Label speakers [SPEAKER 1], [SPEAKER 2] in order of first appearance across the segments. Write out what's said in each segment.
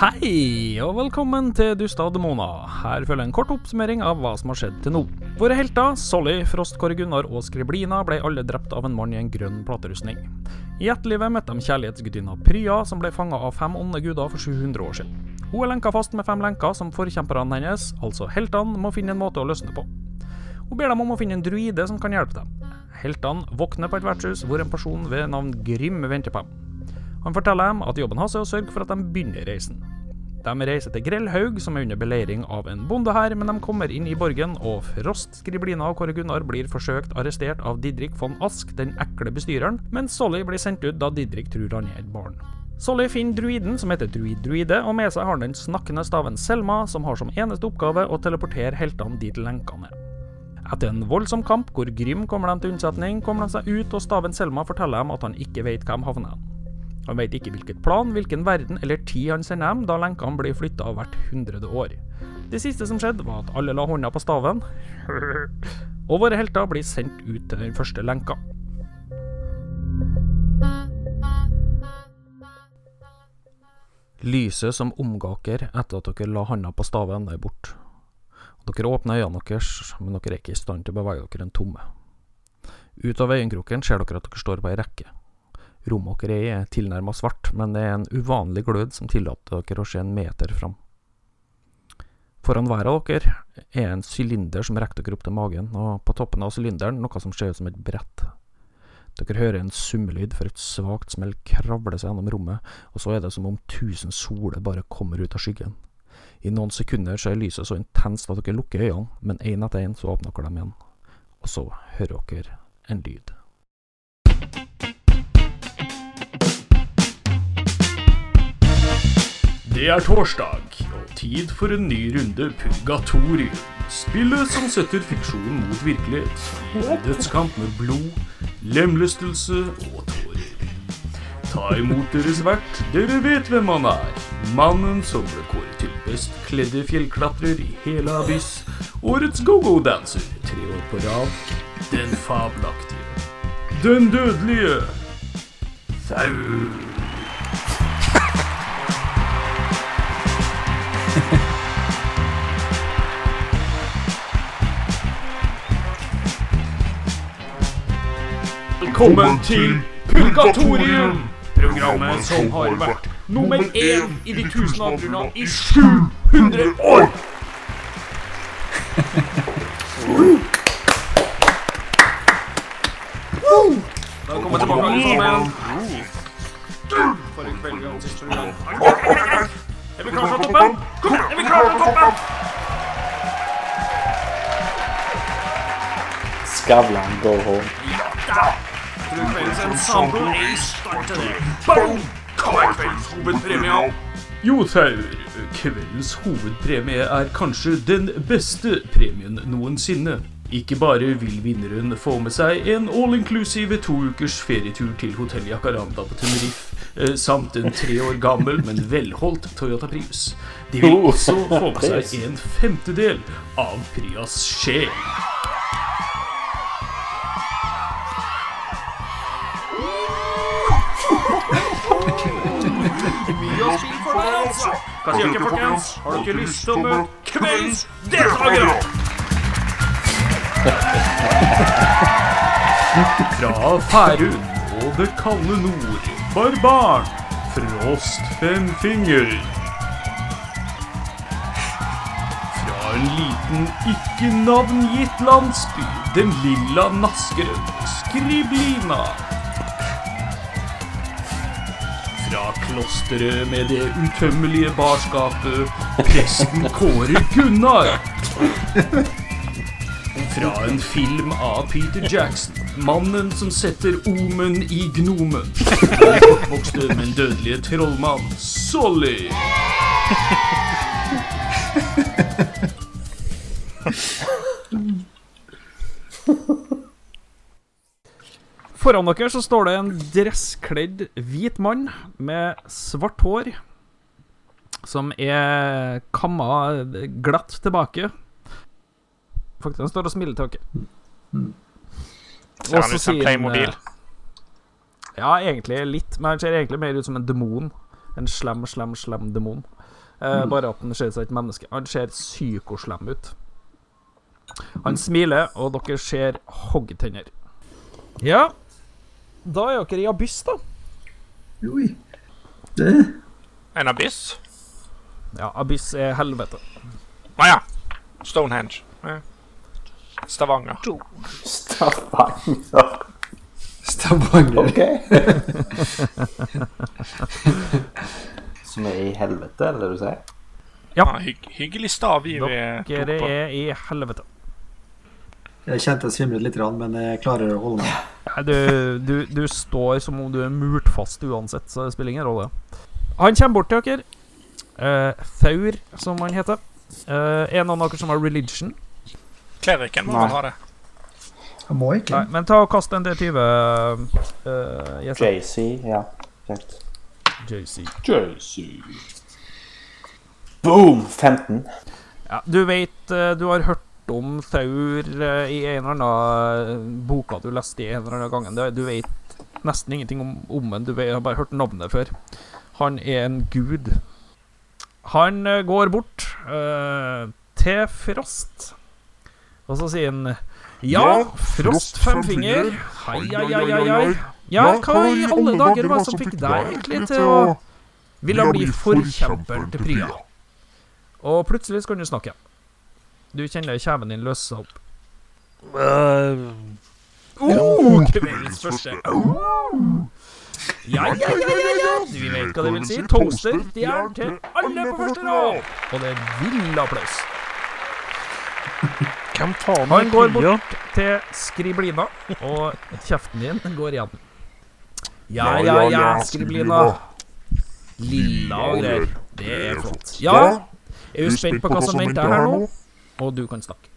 [SPEAKER 1] Hei, og velkommen til Dusta og Demona. Her følger en kort oppsummering av hva som har skjedd til nå. Våre helter, Solly, Frostkåre Gunnar og Skriblina, ble alle drept av en mann i en grønn platerustning. I etterlivet møtte de kjærlighetsgudinna Prya, som ble fanga av fem onde guder for 700 år siden. Hun er lenka fast med fem lenker som forkjemperne hennes, altså heltene, må finne en måte å løsne på. Hun ber dem om å finne en druide som kan hjelpe dem. Heltene våkner på et vertshus hvor en person ved navn Grym venter på dem. Han forteller dem at jobben hans er å sørge for at de begynner reisen. De reiser til Grellhaug, som er under beleiring av en bonde her, men de kommer inn i borgen, og Frost, Skriblina og Kåre Gunnar blir forsøkt arrestert av Didrik von Ask, den ekle bestyreren, mens Solly blir sendt ut da Didrik tror han er et barn. Solly finner druiden, som heter Druid Druide, og med seg har han den snakkende staven Selma, som har som eneste oppgave å teleportere heltene dit lenkene er. Etter en voldsom kamp hvor Grym kommer dem til unnsetning, kommer de seg ut, og staven Selma forteller dem at han ikke vet hvor de havner. hen. Han vet ikke hvilket plan, hvilken verden eller tid han sender dem, da lenkene blir flytta hvert hundrede år. Det siste som skjedde, var at alle la hånda på staven, og våre helter blir sendt ut til den første lenka. Lyset som omga dere etter at dere la hånda på staven, er borte. Dere åpner øynene deres, men dere er ikke i stand til å bevege dere en tomme. Ut av øyekroken ser dere at dere står på ei rekke. Rommet dere er i er tilnærma svart, men det er en uvanlig glød som tillater dere å se en meter fram. Foran hver av dere er en sylinder som rekker dere opp til magen, og på toppen av sylinderen noe som ser ut som et brett. Dere hører en summelyd, for et svakt smell kravler seg gjennom rommet, og så er det som om tusen soler bare kommer ut av skyggen. I noen sekunder så er lyset så intenst at dere lukker øynene, men én etter én så åpner dere dem igjen, og så hører dere en lyd.
[SPEAKER 2] Det er torsdag, og tid for en ny runde Purgatorium. Spillet som setter fiksjon mot virkelighet. I en dødskamp med blod, lemlestelse og tårer. Ta imot deres vert, dere vet hvem han er. Mannen som ble kåret til best kledde fjellklatrer i hele Abyss. Årets go-go-danser tre år på rad. Den fabelaktige. Den dødelige. Saul. Velkommen til Purgatorium! Programmet som har vært nummer én i de tusen avgrunna i 700 år! Velkommen tilbake, alle sammen. For en kveld vi har hatt siste gang. Er vi klare fra toppen? Kom, er vi klare fra toppen?
[SPEAKER 3] Skavlan, go home.
[SPEAKER 2] Tror kveldens ensemble er i stand til det. Boom! Hva er kveldens hovedpremie? Jo, Taur. Kveldens hovedpremie er kanskje den beste premien noensinne. Ikke bare vil vinneren få med seg en all-inclusive to ukers ferietur til hotell Jacaranda på Tenerife, eh, samt en tre år gammel, men velholdt Toyota Prius. De vil også få med seg en femtedel av Prias sjel. Hva sier dere, folkens? Har dere lyst til å møte kveldens deltakere? Fra Færøy og det kalde nord, barbaren Frost Femfinger. Fra en liten, ikke navngitt landsby, den lilla Naskerød, Skriblina. Fra klosteret med det utømmelige barskapet, presten Kåre Gunnar. Fra en film av Peter Jackson, mannen som setter omen i gnomen. Den kortvokste, men dødelige trollmann Solly.
[SPEAKER 1] Foran dere så står det en dresskledd hvit mann med svart hår som er kamma glatt tilbake. Faktisk, han står og smiler til dere. Og
[SPEAKER 4] Ser han
[SPEAKER 1] så
[SPEAKER 4] ut som
[SPEAKER 1] sier
[SPEAKER 4] Playmobil?
[SPEAKER 1] eh, Ja, egentlig litt, men han ser egentlig mer ut som en demon. En slem, slem, slem demon.
[SPEAKER 2] Eh,
[SPEAKER 4] Mm.
[SPEAKER 2] bare at han ser seg et menneske. Han ser psykoslem ut. Han smiler, og dere ser hoggtenner. Ja, da er dere i abyss, da.
[SPEAKER 5] Oi. Det
[SPEAKER 4] En abyss?
[SPEAKER 2] Ja, abyss er helvete.
[SPEAKER 4] Å ja. Stonehenge. Ja. Stavanger.
[SPEAKER 5] Stavanger.
[SPEAKER 6] Stavanger. Ok. Som er i helvete, eller det du sier?
[SPEAKER 4] Ja, hygg, Ah, hyggelig stav i eh, vi tok
[SPEAKER 2] Dere
[SPEAKER 4] på.
[SPEAKER 2] er i helvete.
[SPEAKER 5] Jeg kjente jeg svimlet litt, grann, men jeg klarer å holde meg.
[SPEAKER 2] Nei, Du, du, du står som om du er murt fast uansett, så det spiller ingen rolle. Han kommer bort til dere. Eh, Thaur, som han heter. Eh, en av dere som har religion.
[SPEAKER 4] Klerikken må
[SPEAKER 6] Nei.
[SPEAKER 4] vel ha det.
[SPEAKER 5] Jeg må ikke.
[SPEAKER 2] Nei, men ta og kast en D20. eh, Jesse.
[SPEAKER 6] JC, ja. Kjekt.
[SPEAKER 2] JC.
[SPEAKER 7] JC.
[SPEAKER 6] Boom! 15.
[SPEAKER 2] Ja, du vet eh, Du har hørt om Thaur eh, i en eller annen eh, boka du leste i en eller annen gangen. Det- Du vet nesten ingenting om om han. Du vet- har bare hørt navnet før. Han er en gud. Han eh, går bort eh, til Frost, og så sier han Ja, Frost Femfinger. Hei, hei, hei, hei, hei. Ja, hva i alle dager var det som fikk deg egentlig til å ville bli forkjemperen til Prya? Og plutselig så kan du snakke. Du kjenner kjeven din løse seg opp. Oh, Eh, kveldens første. Oh. Ja, ja, ja, ja, ja, du vet hva det vil si. Toaster, de er til alle på første rad. Og det er vill applaus.
[SPEAKER 8] Hvem faen er
[SPEAKER 2] Han går
[SPEAKER 8] Pia?
[SPEAKER 2] Til skriblina, og kjeften din går igjen. Ja, ja, ja, skriblina. Lilla og greier. Det er flott. Ja, er du spent på hva som venter her nå? Og du kan snakke.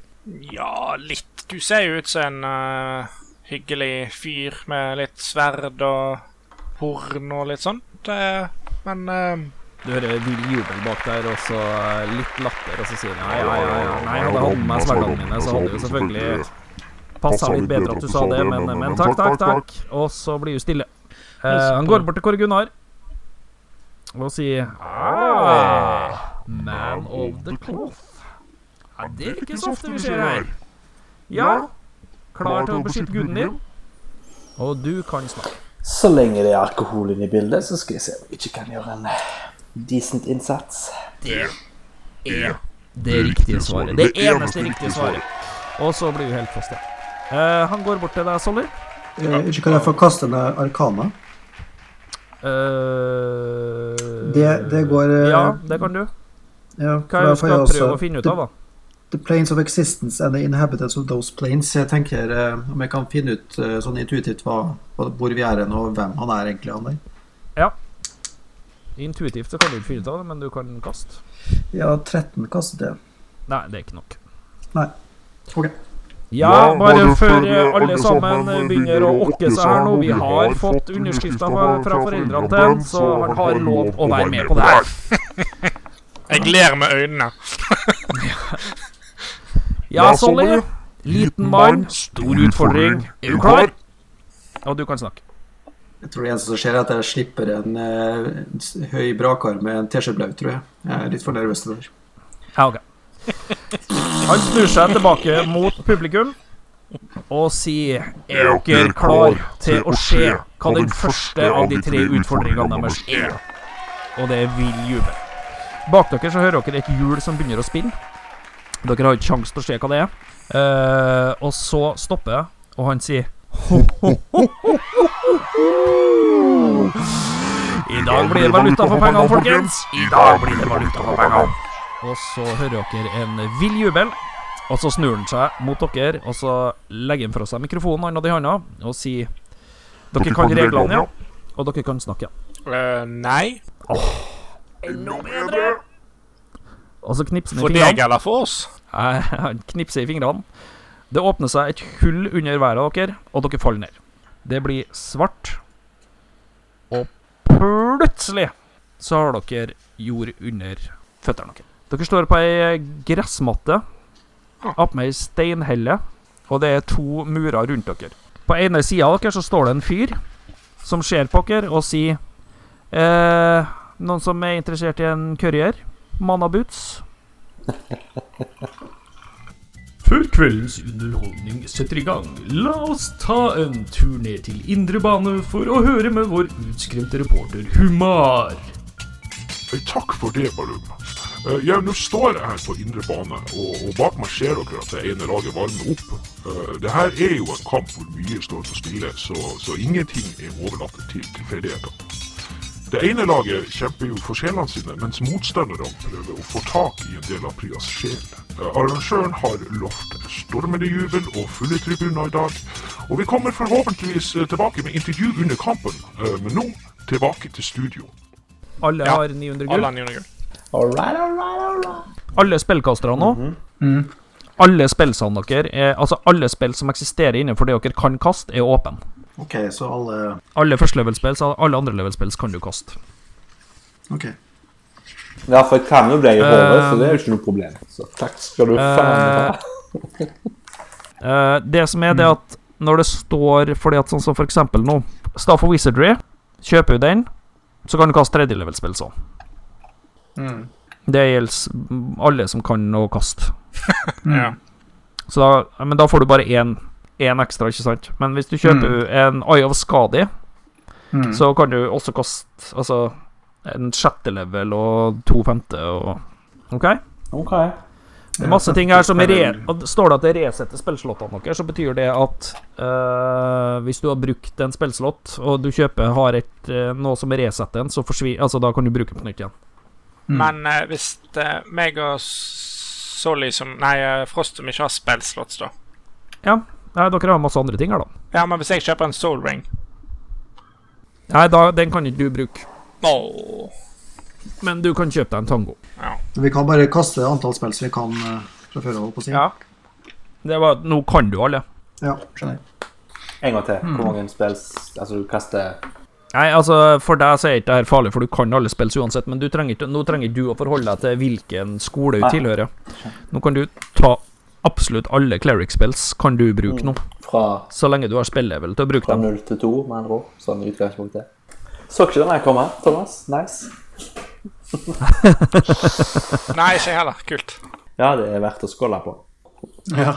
[SPEAKER 4] Ja, litt. Du ser jo ut som en eh, hyggelig fyr med litt sverd og horn og litt sånt. eh, men eh,
[SPEAKER 2] Du hører vill jubel bak der, og så eh, litt latter, og så sier han ja, ja, ja, ja. Nei, hadde jeg hatt med meg sverdene mine, så hadde det jo selvfølgelig passa litt bedre at du sa det, men, men takk, takk, takk. Og så blir du stille. Eh, han går bort til Kåre Gunnar og sier «Hei, Man of Ah. the cloth. Ja, det er ikke så ofte vi ser her. Ja, klar til å beskytte guden din? Og du kan snakke.
[SPEAKER 6] Så lenge det er alkohol inne i bildet, så skal jeg se om jeg ikke kan gjøre en eh, decent innsats.
[SPEAKER 2] Det riktige svaret. Det eneste riktige svaret. Og så blir du helt fast igjen. Eh, han går bort til deg, Solly.
[SPEAKER 5] Eh, Ikke kan jeg få kaste en arkana?
[SPEAKER 2] Eh,
[SPEAKER 5] Det- det går, eh,
[SPEAKER 2] Ja, det kan du.
[SPEAKER 5] Ja,
[SPEAKER 2] Hva
[SPEAKER 5] for
[SPEAKER 2] er
[SPEAKER 5] da
[SPEAKER 2] det du
[SPEAKER 5] får jeg
[SPEAKER 2] skal prøve
[SPEAKER 5] også-
[SPEAKER 2] å finne ut av, da?
[SPEAKER 5] The planes of existence and the inhabitants of those planes. Jeg tenker eh, om jeg kan finne ut eh, sånn intuitivt hva, hva, hvor vi er hen, og hvem han er egentlig, han der.
[SPEAKER 2] Intuitivt så kan du ikke finne ut av det, men du kan kaste.
[SPEAKER 5] Ja, 13 kastet jeg.
[SPEAKER 2] Nei, det er ikke nok.
[SPEAKER 5] Ok.
[SPEAKER 2] Ja, bare før eh, alle sammen begynner å okke seg her nå. Vi har fått underskrifter fra, fra foreldrene til han, så han har lov å være med på det her.
[SPEAKER 4] jeg ler med øynene.
[SPEAKER 2] Ja, Solly. Liten mann, stor utfordring. Er du klar? Og du kan snakke.
[SPEAKER 5] Jeg tror det eneste som skjer, er at jeg slipper en, eh, en s- høy brakar med en teskjeblaut, tror jeg. Jeg er litt for nervøs til det der.
[SPEAKER 2] Ja, ok. Han snur seg tilbake mot publikum og sier Er dere klar til å se hva den første av de tre utfordringene deres er? Og det er vill jubel. Bak dere så hører dere et hjul som begynner å spinne. Dere har ikke sjans til å se hva det er. Eh, og så stopper jeg, og han sier I dag blir det valuta for pengene, folkens. I dag blir det valuta for pengene. Og så hører dere en vill jubel. Og så snur han seg mot dere, og så legger han fra seg mikrofonen han hadde i hånda, og sier Dere kan reglene, ja. Og dere kan snakke.
[SPEAKER 4] Eh, nei.
[SPEAKER 2] Og så knipser han
[SPEAKER 4] For
[SPEAKER 2] i fingrene.
[SPEAKER 4] deg eller for oss?
[SPEAKER 2] Nei, Han knipser i fingrene. Det åpner seg et hull under hver av dere, og dere faller ned. Det blir svart. Og plutselig så har dere jord under føttene deres. Dere står på ei gressmatte attmed ei steinhelle, og det er to murer rundt dere. På ene sida av dere så står det en fyr som ser på dere og sier eh, Noen som er interessert i en courier? Manaboots.
[SPEAKER 7] Før kveldens underholdning setter i gang, la oss ta en tur ned til indre bane for å høre med vår utskremte reporter Humar.
[SPEAKER 8] Eh, Takk for det, Balum. Eh, Ja, nå står jeg her på indre bane, og, og bak meg ser dere at det ene laget varmer opp. Eh, Det her er jo en kamp hvor mye står på spille, så, så ingenting er overlatt til tilfeldigheter. Det ene laget kjemper jo for sjelene sine, mens motstanderne prøver å få tak i en del av Prias sjel. Eh, Arrangøren har lovt stormende jubel og fulle tribuner i dag, og vi kommer forhåpentligvis eh, tilbake med intervju under kampen, eh, men nå tilbake til studio.
[SPEAKER 2] Alle
[SPEAKER 4] Ja.
[SPEAKER 2] har 900 gull. Alle,
[SPEAKER 4] Alle har 900 gull.
[SPEAKER 6] All right, all right, all right.
[SPEAKER 2] spillkastere nå.
[SPEAKER 4] Mhm.
[SPEAKER 2] Alle spillsene dere er, Altså alle spill som eksisterer innenfor det dere kan kaste, er åpne.
[SPEAKER 5] OK, så alle
[SPEAKER 2] Alle førstelevelspills og alle andrelevelspills kan du kaste.
[SPEAKER 5] OK.
[SPEAKER 6] Ja, for jeg kan jo det i hodet,
[SPEAKER 2] Eh,
[SPEAKER 6] så det er jo ikke noe problem. Så takk skal du faen ha.
[SPEAKER 2] Eh, eh, det som er det at når det står Fordi at sånn som for eksempel nå Staff of Wizardry, kjøper du den, så kan du kaste tredjelevelspill sånn. Det gjelder alle som kan å kaste.
[SPEAKER 4] Ja.
[SPEAKER 2] Så da, men da får du bare én, én ekstra, ikke sant? Men hvis du kjøper en Eye of Skadi,
[SPEAKER 5] Mm.
[SPEAKER 2] så kan du også kaste altså, en sjette level og to femte og OK?
[SPEAKER 6] Ok.
[SPEAKER 2] Det er masse ting her som re at- Står det at det resetter spillslottene deres, så betyr det at eh, hvis du har brukt en spillslott, og du kjøper har et, eh, noe som resetter den, så forsvinner Altså, da kan du bruke den på nytt igjen.
[SPEAKER 4] Men eh, hvis eh, meg og Solly som Nei, eh, Frost som ikke har spillslotts, da.
[SPEAKER 2] Nei, dere har masse andre ting her, da.
[SPEAKER 4] Ja, men hvis jeg kjøper en Soul Ring
[SPEAKER 2] Nei, da, den kan ikke du bruke.
[SPEAKER 4] Åh.
[SPEAKER 2] Men du kan kjøpe deg en tango.
[SPEAKER 5] Vi kan bare kaste antall spill som vi kan eh, fra før av, holdt på å si.
[SPEAKER 2] Ja. Det var, nå kan du alle.
[SPEAKER 5] Ja, skjønner.
[SPEAKER 6] En gang til. Hvor mange spills Altså, du kaster
[SPEAKER 2] Nei, altså, for deg så er ikke det her farlig, for du kan alle spills uansett, men du trenger ikke, nå trenger ikke du å forholde deg til hvilken skole du
[SPEAKER 6] Nei.
[SPEAKER 2] tilhører. Nå kan du ta absolutt alle cleric spills kan du
[SPEAKER 6] Mm.
[SPEAKER 2] bruke nå,
[SPEAKER 6] fra,
[SPEAKER 2] så lenge du har spillevel til å bruke
[SPEAKER 6] fra
[SPEAKER 2] dem.
[SPEAKER 6] null til to, med andre ord. Sånn i utgangspunktet. Så ikke den her komme, Thomas. Nice.
[SPEAKER 4] Nei, ikke jeg heller. Kult.
[SPEAKER 6] Ja, det er verdt å skåle på.
[SPEAKER 5] Ja.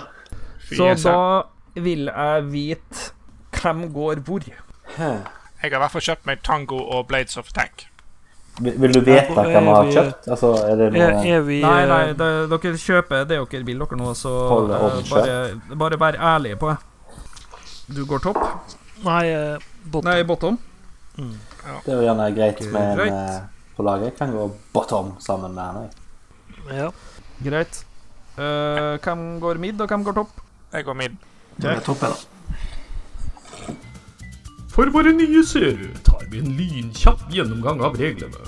[SPEAKER 4] Fy,
[SPEAKER 2] Så
[SPEAKER 4] jeg ser-
[SPEAKER 2] da vil jeg vite hvem går hvor.
[SPEAKER 4] Jeg har i hvert fall kjøpt meg Tango og Blades of Tank.
[SPEAKER 6] Vil, vil du vite hva
[SPEAKER 9] hvor
[SPEAKER 6] vi
[SPEAKER 9] er
[SPEAKER 6] har
[SPEAKER 9] vi?
[SPEAKER 6] kjøpt? Altså, er det
[SPEAKER 9] Er,
[SPEAKER 6] noe
[SPEAKER 9] er vi
[SPEAKER 2] Nei, nei,
[SPEAKER 9] eh,
[SPEAKER 2] det, dere kjøper det dere vil dere nå, så
[SPEAKER 6] Hold det
[SPEAKER 2] eh, bare,
[SPEAKER 6] åpent
[SPEAKER 2] bare vær ærlige på det. Du går topp?
[SPEAKER 9] Nei, eh, bot.
[SPEAKER 2] Nei, bottom.
[SPEAKER 6] Det er jo gjerne greit med en
[SPEAKER 2] Greit.
[SPEAKER 6] eh, på laget. Jeg kan gå bottom sammen med henne. jeg.
[SPEAKER 9] Ja.
[SPEAKER 2] Greit. Eh, hvem går mid, og hvem går topp?
[SPEAKER 4] Jeg går min.
[SPEAKER 5] Det er topp, da.
[SPEAKER 7] For våre nye seere tar vi en lynkjapp gjennomgang av reglene.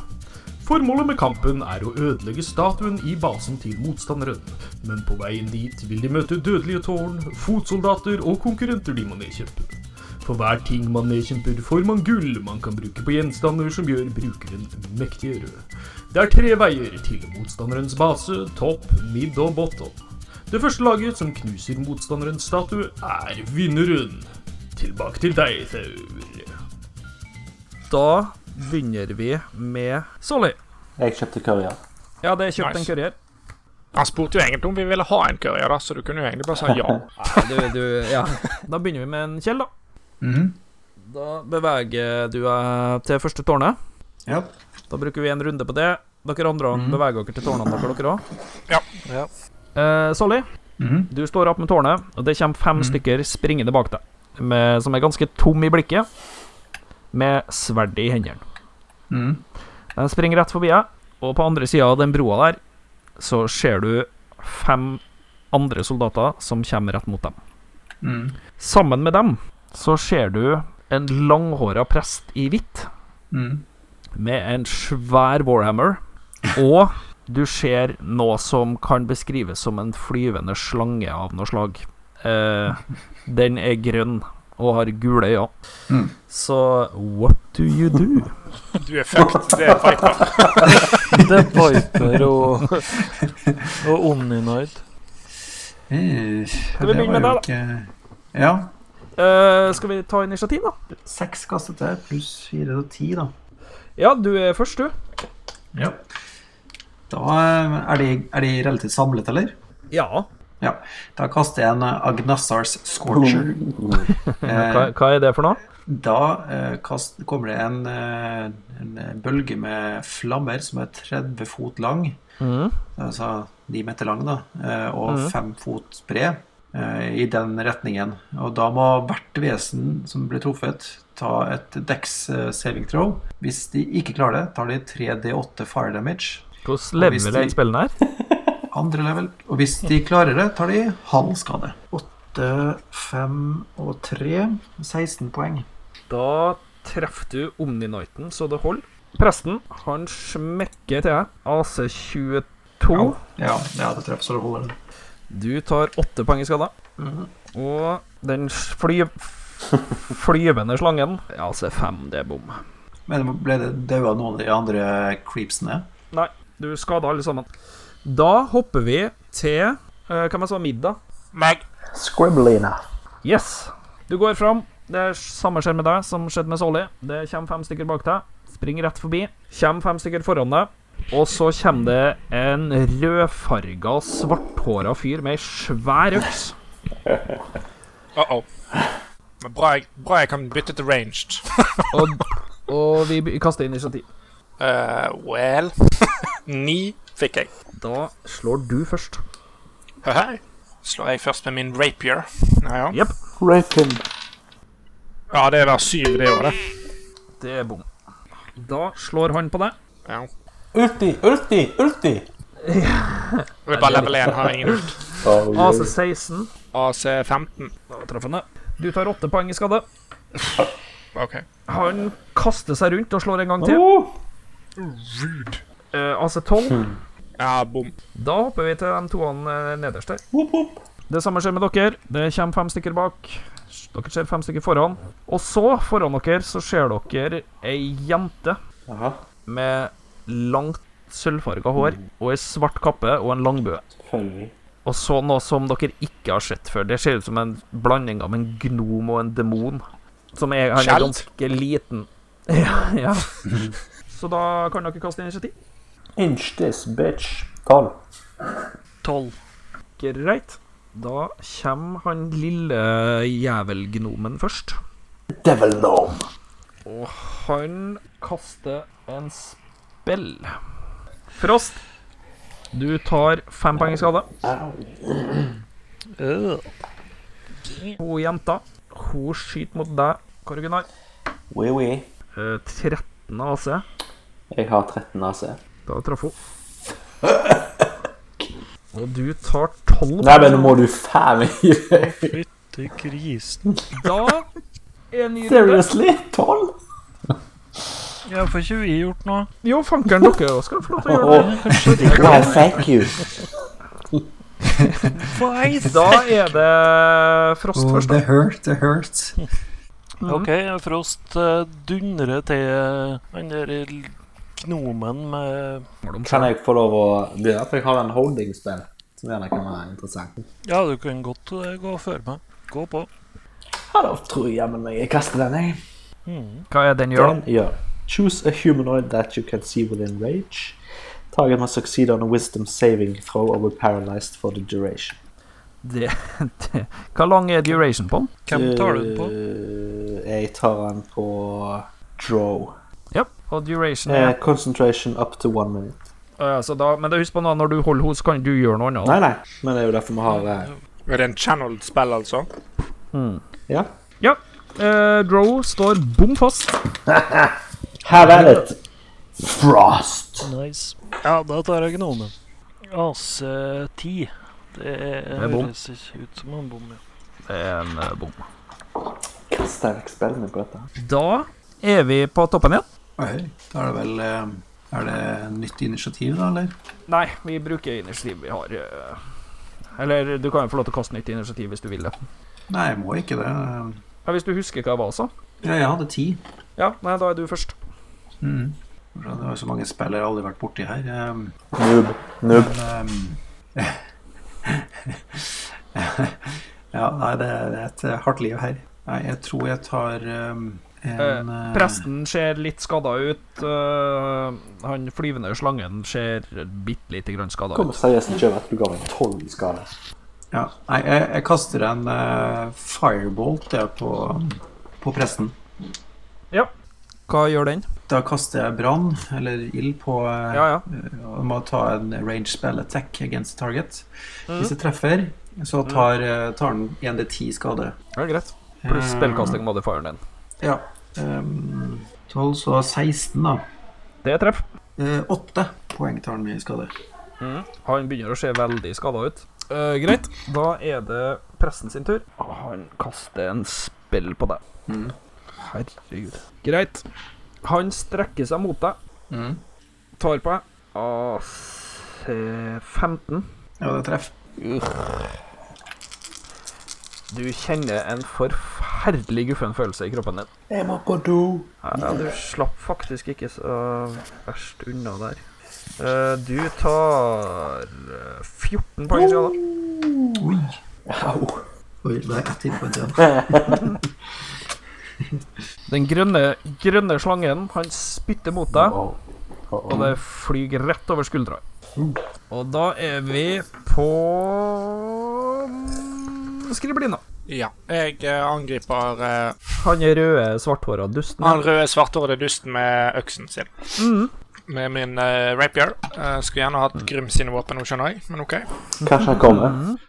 [SPEAKER 7] Formålet med kampen er å ødelegge statuen i basen til motstanderen, men på veien dit vil de møte dødelige tårn, fotsoldater og konkurrenter de må nedkjempe. For hver ting man nedkjemper, får man gull man kan bruke på gjenstander som gjør brukeren mektigere. Det er tre veier til motstanderens base, topp, midd og bottom. Det første laget som knuser motstanderens statue, er vinneren. Tilbake til deg, Thaur.
[SPEAKER 2] Da begynner vi med Solly.
[SPEAKER 6] Jeg kjøpte courier.
[SPEAKER 2] Ja, det er kjøpt
[SPEAKER 4] Nice.
[SPEAKER 2] en courier.
[SPEAKER 4] Han spurte jo egentlig om vi ville ha en courier, da, så du kunne jo egentlig bare sagt ja.
[SPEAKER 2] Du, du, ja. Da begynner vi med en Kjell, da. Da beveger du deg til første tårnet.
[SPEAKER 5] Ja.
[SPEAKER 2] Da bruker vi en runde på det. Dere andre beveger dere til tårnene dere, dere òg.
[SPEAKER 4] Ja.
[SPEAKER 9] Ja.
[SPEAKER 2] Eh, Solly,
[SPEAKER 5] Mhm.
[SPEAKER 2] du står opp med tårnet, og det kommer fem stykker springende bak deg, med, som er ganske tom i blikket, med sverd i hendene.
[SPEAKER 5] Mhm.
[SPEAKER 2] Den springer rett forbi deg, og på andre sida av den broa der så ser du fem andre soldater som kommer rett mot dem.
[SPEAKER 5] Mhm.
[SPEAKER 2] Sammen med dem så ser du en langhåra prest i hvitt
[SPEAKER 5] Mhm.
[SPEAKER 2] med en svær warhammer, og du ser noe som kan beskrives som en flyvende slange av noe slag. Eh, den er grønn og har gule øyne.
[SPEAKER 5] Mm.
[SPEAKER 2] Så what do you do?
[SPEAKER 4] Du er fucked. Det er Viper.
[SPEAKER 9] Det er Viper og, og Omninoid.
[SPEAKER 5] Eh,
[SPEAKER 2] Skal vi
[SPEAKER 5] det
[SPEAKER 2] begynne med
[SPEAKER 5] var jo
[SPEAKER 2] deg,
[SPEAKER 5] ikke- Ja.
[SPEAKER 2] Eh, skal vi ta initiativ, da?
[SPEAKER 5] Seks kastet der, pluss fire og ti, da.
[SPEAKER 2] Ja, du er først, du.
[SPEAKER 5] Ja. Da eh, er de, er de relativt samlet, eller?
[SPEAKER 2] Ja.
[SPEAKER 5] Ja. Da kaster jeg en eh, Agnassars Scorcher. Eh,
[SPEAKER 2] Hva, hva er det for noe?
[SPEAKER 5] da eh, kast, kommer det en, eh, en bølge med flammer som er 30 fot lang.
[SPEAKER 2] Mhm.
[SPEAKER 5] Altså 9 meter lang, da. eh, Og 5 fot bred. eh, I den retningen. Og da må hvert vesen som blir truffet, ta et Dex eh, saving throw. Hvis de ikke klarer det, tar de 3D8 fire damage.
[SPEAKER 2] Hvordan
[SPEAKER 5] Og hvis
[SPEAKER 2] level er
[SPEAKER 5] de-
[SPEAKER 2] spillene her?
[SPEAKER 5] Andre level. Og hvis de klarer det, tar de halv skade. 8, 5 og 3 16 poeng.
[SPEAKER 2] Da treffer du Omni-Nighten så det holder. Presten, han smekker til deg. AC22. Oh.
[SPEAKER 5] Ja, ja det treffer så det holder. det.
[SPEAKER 2] Du tar åtte poeng i skade. Og den fly... flyvende slangen AC5, det er bom.
[SPEAKER 5] Men ble det daua noen av de andre creepsene?
[SPEAKER 2] Nei, du skada alle sammen. Da hopper vi til uh, Hvem jeg sa middag?
[SPEAKER 4] Meg.
[SPEAKER 6] Scribblina.
[SPEAKER 2] Yes. Du går fram. Det er samme skjer med deg som skjedde med Solly. Det kommer fem stykker bak deg. Spring rett forbi. Kommer fem stykker foran deg. Og så kommer det en rødfarga, svarthåra fyr med ei svær øks.
[SPEAKER 4] Uh-oh. Men bra jeg, bra jeg kan bytte til ranged.
[SPEAKER 2] Og, og vi by- kaster initiativ.
[SPEAKER 4] Eh, well Ni fikk jeg.
[SPEAKER 2] Da slår du først.
[SPEAKER 4] Hei, Hei. Slår jeg først med min rapier. Ja, ja.
[SPEAKER 2] Jepp.
[SPEAKER 6] Rape him.
[SPEAKER 4] ja det var syv, det året.
[SPEAKER 2] Det er bom. Da slår han på deg.
[SPEAKER 4] Ja.
[SPEAKER 10] Ulti, ulti, ulti!
[SPEAKER 4] Det er bare level 1, har ingen ult.
[SPEAKER 6] Oh, Ah,
[SPEAKER 2] AC16.
[SPEAKER 4] AC 15.
[SPEAKER 2] Da treffer han deg. Du tar åtte poeng i skade.
[SPEAKER 4] OK.
[SPEAKER 2] Han kaster seg rundt og slår en gang til.
[SPEAKER 4] Rude.
[SPEAKER 2] Eh, AC12.
[SPEAKER 4] Ja, bom.
[SPEAKER 2] Da hopper vi til de toene eh, nederst der. Det samme skjer med dere. Det kommer fem stykker bak. Dere ser fem stykker foran. Og så, foran dere, så ser dere ei jente
[SPEAKER 6] Aha.
[SPEAKER 2] med langt sølvfarga hår og ei svart kappe og en langbue.
[SPEAKER 6] Selvfølgelig.
[SPEAKER 2] Og så noe som dere ikke har sett før. Det ser ut som en blanding av en gnom og en demon. Som er, han er
[SPEAKER 4] Skjeld.
[SPEAKER 2] ganske liten. Ja, ja. Så da kan dere kaste initiativ.
[SPEAKER 6] Inch this bitch. Tolv.
[SPEAKER 9] Tolv.
[SPEAKER 2] Greit. Da kommer han lille jævelgnomen først.
[SPEAKER 6] Devil gnome.
[SPEAKER 2] Og han kaster en spill. Frost, du tar fem poeng i skade.
[SPEAKER 9] Øh.
[SPEAKER 2] Hun jenta, hun skyter mot deg, Kåre Gunnar.
[SPEAKER 6] Oui, oui.
[SPEAKER 2] Eh, 13 AC.
[SPEAKER 6] Jeg har 13 AC.
[SPEAKER 2] Da traff hun. Og du tar 12
[SPEAKER 6] Nei, men nå må du faen meg gi deg.
[SPEAKER 9] Fytti grisen.
[SPEAKER 2] Da er ny runde.
[SPEAKER 6] Seriously? 12?
[SPEAKER 9] Ja, får ikke vi gjort noe?
[SPEAKER 2] Jo, fankeren, dere også skal få lov til å gjøre det. er
[SPEAKER 6] Well, thank you.
[SPEAKER 2] Da er det Frost
[SPEAKER 5] Oh,
[SPEAKER 2] først.
[SPEAKER 5] det hurt, det hurt.
[SPEAKER 9] OK, Frost eh, dundrer til eh, han der l- gnomen med
[SPEAKER 6] Kan jeg få lov å begynne? For jeg har en holding spell som gjerne kan være interessant.
[SPEAKER 9] Ja, du kan godt eh, gå før meg. Gå på.
[SPEAKER 6] Ja, da tror jeg jammen meg jeg kaster den, jeg.
[SPEAKER 2] Hva er den gjør, da?
[SPEAKER 6] Den gjør Choose a humanoid that you can see within range. Target must succeed on a wisdom saving throw or be paralyzed for the duration.
[SPEAKER 2] Det, det. Hva lang er duration på den?
[SPEAKER 9] Hvem tar du den på?
[SPEAKER 6] Eh, Jeg tar den på draw.
[SPEAKER 2] Ja, og duration
[SPEAKER 6] Eh,
[SPEAKER 2] er
[SPEAKER 6] concentration up to one minute.
[SPEAKER 2] Eh, så da, Men da husk på nå, når du holder henne, så kan du gjøre noe annet.
[SPEAKER 6] Nei, nei, men det er jo derfor vi har eh,
[SPEAKER 4] Er det en channeled spell, altså?
[SPEAKER 6] Ja.
[SPEAKER 2] Eh, Drow står bom fast.
[SPEAKER 6] Have at it! Frost.
[SPEAKER 9] Nice. Ja, da tar jeg gnomen. AC10. Det, er
[SPEAKER 2] er bom.
[SPEAKER 9] høres ikke ut som en bom. Ja.
[SPEAKER 2] Det er en eh, bom.
[SPEAKER 6] Kast deg vekk spillene på dette.
[SPEAKER 2] Da er vi på toppen igjen.
[SPEAKER 5] Oi, da er det vel eh, Er det nytt initiativ, da, eller?
[SPEAKER 2] Nei, vi bruker initiativ vi har. eh, Eller du kan jo få lov til å kaste nytt initiativ hvis du vil det.
[SPEAKER 5] Nei, jeg må ikke det. Eh,
[SPEAKER 2] Ja, Hvis du husker hva det var, så.
[SPEAKER 5] Ja, jeg hadde ti.
[SPEAKER 2] Ja, nei, da er du først.
[SPEAKER 5] Det var jo så mange spill jeg har aldri vært borti her. eh,
[SPEAKER 6] Noob. Noob.
[SPEAKER 5] Men eh, ehm, Ja, nei, det er et hardt liv her. Nei, jeg tror jeg tar ehm, En, eh,
[SPEAKER 2] Presten ser litt skada ut. eh, han flyvende slangen ser bitte lite grann skada ut.
[SPEAKER 6] Kommer seriøst ikke over at du ga meg tolv i skade.
[SPEAKER 5] Ja. Nei, jeg, jeg kaster en eh, firebolt jeg, på, på presten.
[SPEAKER 2] Hva gjør den?
[SPEAKER 5] Da kaster jeg brann, eller ild, på eh,
[SPEAKER 2] Ja, ja.
[SPEAKER 5] Og må ta en range spell attack against the target.
[SPEAKER 2] Mm.
[SPEAKER 5] Hvis jeg treffer, så tar, eh, tar den 1D10 skade.
[SPEAKER 2] Det er greit. Pluss
[SPEAKER 5] Eh,
[SPEAKER 2] spillkasting modifieren din.
[SPEAKER 5] Ja. ehm, 12, så 16, da.
[SPEAKER 2] Det er treff.
[SPEAKER 5] Eh, 8 poeng tar den i skade.
[SPEAKER 2] Han begynner å se veldig skada ut. Eh, greit. Da er det presten sin tur. Han kaster en spill på deg.
[SPEAKER 5] Mhm.
[SPEAKER 2] Herregud. Greit. Han strekker seg mot deg, tar på deg. AC15.
[SPEAKER 5] Ja, det er treff.
[SPEAKER 2] Du kjenner en forferdelig guffen følelse i kroppen din.
[SPEAKER 6] Jeg må på do.
[SPEAKER 2] Ja, du slapp faktisk ikke så verst unna der. Eh, du tar eh, 14 poeng i skade.
[SPEAKER 5] Oi.
[SPEAKER 6] Au.
[SPEAKER 5] Oi, det er ett hit på en tid.
[SPEAKER 2] Den grønne, grønne slangen, han spytter mot deg,
[SPEAKER 6] Wow. Oh,
[SPEAKER 2] og det flyr rett over skuldra. Og da er vi på Skriblina.
[SPEAKER 4] Ja. Jeg eh, angriper eh,
[SPEAKER 2] Han er røde, svarthåra dusten.
[SPEAKER 4] han røde svarthårede dusten med øksen sin. Med min eh, rapier. Eh, skulle gjerne hatt Grym sine våpen nå, skjønner jeg, men OK.
[SPEAKER 6] Kanskje han kommer.
[SPEAKER 9] Mm.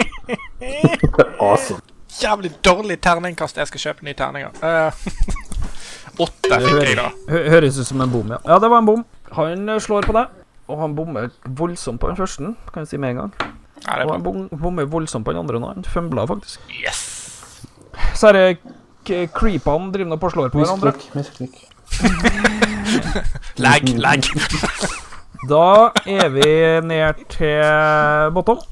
[SPEAKER 6] awesome.
[SPEAKER 4] Jævlig dårlig terningkast. Jeg skal kjøpe nye terninger. Eh, åtte fikk jeg, da.
[SPEAKER 2] Hø høres ut som en bom, ja. Ja, det var en bom. Han eh, slår på deg, og han bommer voldsomt på den første, kan jeg si med en gang.
[SPEAKER 4] Ja, det er
[SPEAKER 2] Og
[SPEAKER 4] bra.
[SPEAKER 2] han bom bommer voldsomt på den andre nå. Han fømbla faktisk.
[SPEAKER 4] Yes!
[SPEAKER 2] Så er det k- creepene driver nå på og slår på hverandre.
[SPEAKER 6] Misklikk, misklikk.
[SPEAKER 4] Lag, lag.
[SPEAKER 2] Da er vi ned til bottom.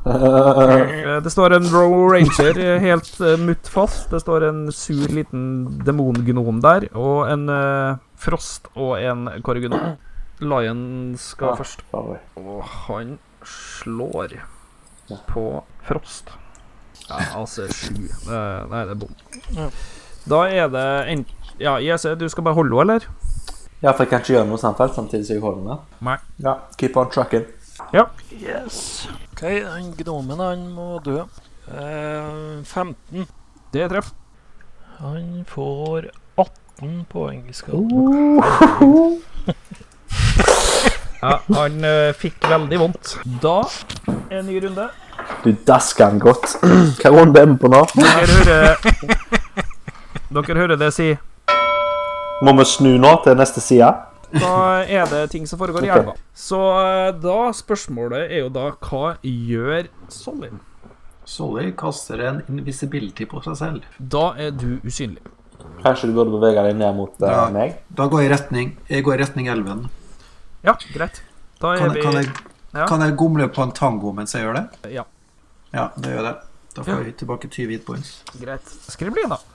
[SPEAKER 2] Eh, Det står en Row Ranger eh, helt eh, mutt fast. Det står en sur liten demongnom der, og en eh, Frost og en Korgunon. Lion skal
[SPEAKER 6] Ah.
[SPEAKER 2] først,
[SPEAKER 6] Oi.
[SPEAKER 2] og han slår på Frost. Ja, AC7. Eh, Nei, det er
[SPEAKER 4] Ja.
[SPEAKER 2] bom. Da er det en... Ja, IEC, du skal bare holde henne, eller?
[SPEAKER 6] Ja, for jeg kan ikke gjøre noe samtidig, samtidig som jeg holder den der.
[SPEAKER 2] Nei.
[SPEAKER 6] Ja, keep on trucking.
[SPEAKER 9] Yes. OK, han gnomen, han må dø. Eh, 15.
[SPEAKER 2] Det er treff.
[SPEAKER 9] Han får 18 poeng i skade.
[SPEAKER 2] Ja, han eh, fikk veldig vondt. Da en ny runde.
[SPEAKER 6] Du dasker han godt. Hva runde er vi på nå?
[SPEAKER 2] Dere hører Dere hører det si.
[SPEAKER 6] Må vi snu nå til neste side?
[SPEAKER 2] Da er det ting som foregår i
[SPEAKER 6] Ok.
[SPEAKER 2] elva. Så eh, da Spørsmålet er jo da hva gjør Solin?
[SPEAKER 5] Solly kaster en invisibility på seg selv.
[SPEAKER 2] Da er du usynlig.
[SPEAKER 6] Kanskje du burde bevege deg ned mot eh,
[SPEAKER 5] Ja.
[SPEAKER 6] meg?
[SPEAKER 5] Da går jeg i retning, jeg går i retning elven.
[SPEAKER 2] Ja, greit. Da er
[SPEAKER 5] Kan, jeg- kan, jeg,
[SPEAKER 2] vi Ja.
[SPEAKER 5] kan jeg gomle på en tango mens jeg gjør det?
[SPEAKER 2] Ja.
[SPEAKER 5] Ja, det gjør jeg. Da får jeg tilbake 20 hit points.
[SPEAKER 2] greit. Skriblina.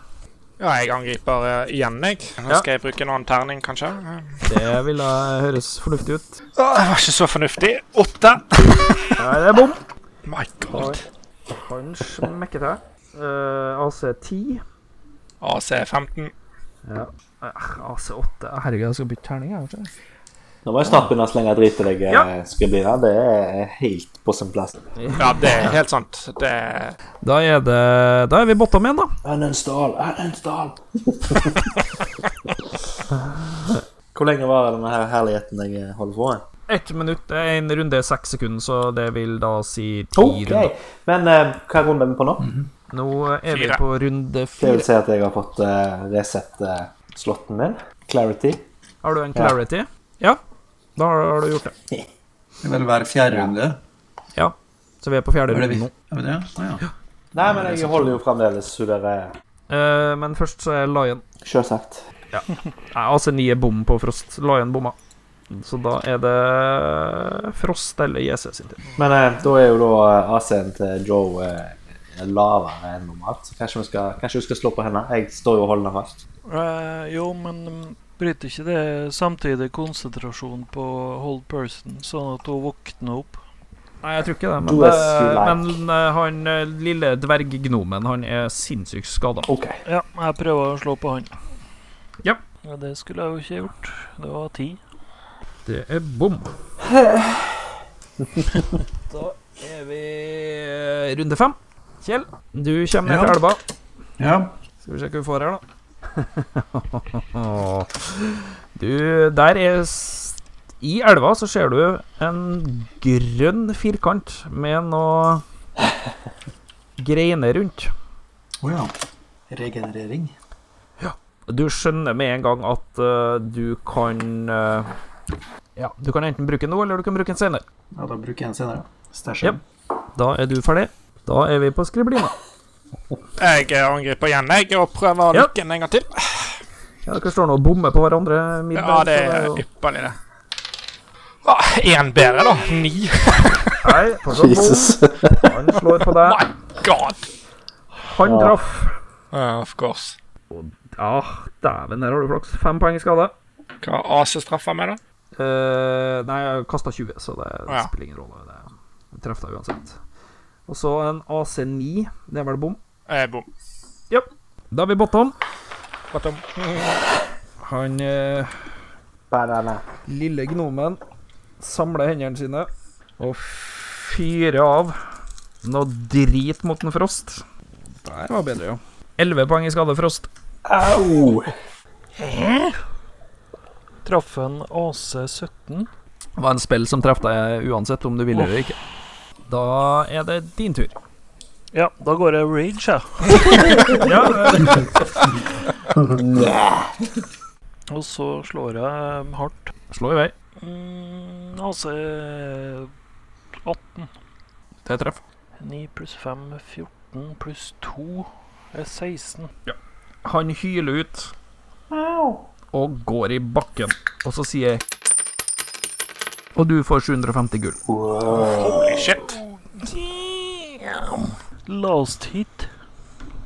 [SPEAKER 4] Ja, jeg angriper eh, igjen, jeg.
[SPEAKER 2] Ja.
[SPEAKER 4] Nå skal jeg bruke en annen terning, kanskje. Ja.
[SPEAKER 2] Det ville høres fornuftig ut.
[SPEAKER 4] Åh, det var ikke så fornuftig. Åtte.
[SPEAKER 2] Nei, det er bom.
[SPEAKER 4] My god.
[SPEAKER 2] Han smekker til. Eh, AC10.
[SPEAKER 4] AC 15.
[SPEAKER 2] AC8. Herregud, jeg skal bytte terning. jeg, vet du.
[SPEAKER 6] Nå må jeg snart begynne å slenge drit til deg,
[SPEAKER 2] Ja.
[SPEAKER 6] eh, Skriblina. Det er helt på sin plass.
[SPEAKER 4] Ja, det er helt sant. Det er
[SPEAKER 2] Da er det Da er vi bottom igjen, da.
[SPEAKER 6] Uninstall, uninstall. Hvor lenge varer denne her herligheten jeg eh, holder på med?
[SPEAKER 2] Ett minutt er en runde seks sekunder, så det vil da si ti
[SPEAKER 6] Ok,
[SPEAKER 2] runder.
[SPEAKER 6] men eh, hva runde er vi på nå?
[SPEAKER 2] Nå er vi
[SPEAKER 4] Fire.
[SPEAKER 2] på runde
[SPEAKER 6] Det vil
[SPEAKER 2] fire.
[SPEAKER 6] si at jeg har fått uh, resett eh, slotten min. Clarity.
[SPEAKER 2] Har du en clarity? Ja, da har, har du gjort det.
[SPEAKER 5] Det vil være fjerde runde.
[SPEAKER 2] Ja. Så vi er på fjerde
[SPEAKER 5] Er det
[SPEAKER 2] runde
[SPEAKER 5] vi?
[SPEAKER 2] nå.
[SPEAKER 5] Ja, men det, ja. ja.
[SPEAKER 6] Nei, men jeg holder jo fremdeles så dere
[SPEAKER 2] Eh, men først så er Lion
[SPEAKER 6] Sjølsagt.
[SPEAKER 2] Nei, altså ni er bom på Frost. Lion bomma. Så da er det Frost eller JC sin tur.
[SPEAKER 6] Men eh, da er jo da eh, AC-en til Joe eh, lavere enn normalt, så kanskje vi skal, kanskje vi skal slå på henne. Jeg står jo og holder henne fast.
[SPEAKER 9] Eh, jo, men mm, bryter ikke det samtidig konsentrasjon på hold person, sånn at hun våkner opp?
[SPEAKER 2] Nei, jeg tror ikke det. Men,
[SPEAKER 6] Do as you
[SPEAKER 2] eh,
[SPEAKER 6] like.
[SPEAKER 2] men eh, han eh, lille dverggnomen, han er sinnssykt skada.
[SPEAKER 6] OK.
[SPEAKER 9] Ja, jeg prøver å slå på han.
[SPEAKER 2] Ja.
[SPEAKER 9] ja. Det skulle jeg jo ikke gjort. Det var ti.
[SPEAKER 2] Det er bom. da er vi eh, runde fem. Kjell, du kommer ned
[SPEAKER 5] Ja.
[SPEAKER 2] til elva.
[SPEAKER 5] Ja.
[SPEAKER 2] Skal vi se hva vi får her, da. du, der er s- I elva så ser du en grønn firkant med noe greiner rundt.
[SPEAKER 5] Å ja. Regenerering.
[SPEAKER 2] Du skjønner med en gang at eh, du kan eh, Ja, du kan enten bruke den nå, eller du kan bruke den senere.
[SPEAKER 5] Ja, da bruker jeg den senere. Stæsjen.
[SPEAKER 2] Da er du ferdig. Da er vi på skriblina.
[SPEAKER 4] Jeg eh, angriper igjen, jeg, og prøver
[SPEAKER 2] Ja.
[SPEAKER 4] lykken en gang til.
[SPEAKER 2] Ja, Dere står nå og bommer på hverandre. middag,
[SPEAKER 4] Ja, det
[SPEAKER 2] så
[SPEAKER 4] er
[SPEAKER 2] jo-
[SPEAKER 4] ypperlig, det. Ah, Én bedre, da. Ni.
[SPEAKER 2] Nei, fortsatt bom.
[SPEAKER 6] Jesus.
[SPEAKER 2] Han slår på deg.
[SPEAKER 4] My God.
[SPEAKER 2] Han traff.
[SPEAKER 4] Eh, of course.
[SPEAKER 2] Ja, Ah, dæven, der har du flaks. Fem poeng i skade.
[SPEAKER 4] Hva AC-straffer meg, da?
[SPEAKER 2] Eh, nei, jeg kasta 20, så det
[SPEAKER 4] Ja.
[SPEAKER 2] spiller ingen rolle. Det treff deg uansett. Og så en AC9. Det er vel bom.
[SPEAKER 4] Eh, bom.
[SPEAKER 2] Da er vi bottom.
[SPEAKER 4] Godt om.
[SPEAKER 2] Han eh,
[SPEAKER 6] Banana.
[SPEAKER 2] lille gnomen samler hendene sine og fyrer av noe drit mot en Frost. Der var bedre, ja. Elleve poeng i skade, Frost.
[SPEAKER 6] Au!
[SPEAKER 9] Traff en AC17.
[SPEAKER 2] Det var en spill som traff deg uansett om du ville eller ikke. Da er det din tur.
[SPEAKER 9] Ja, da går jeg rage, jeg. Og så slår jeg um, hardt.
[SPEAKER 2] Slå i vei.
[SPEAKER 9] Mm, AC 18.
[SPEAKER 2] Det er treff.
[SPEAKER 9] 9 pluss 5 14 pluss 2 er 16.
[SPEAKER 2] Han hyler ut og går i bakken, og så sier jeg Og du får 750 gull.
[SPEAKER 4] Holy shit.
[SPEAKER 9] Last hit.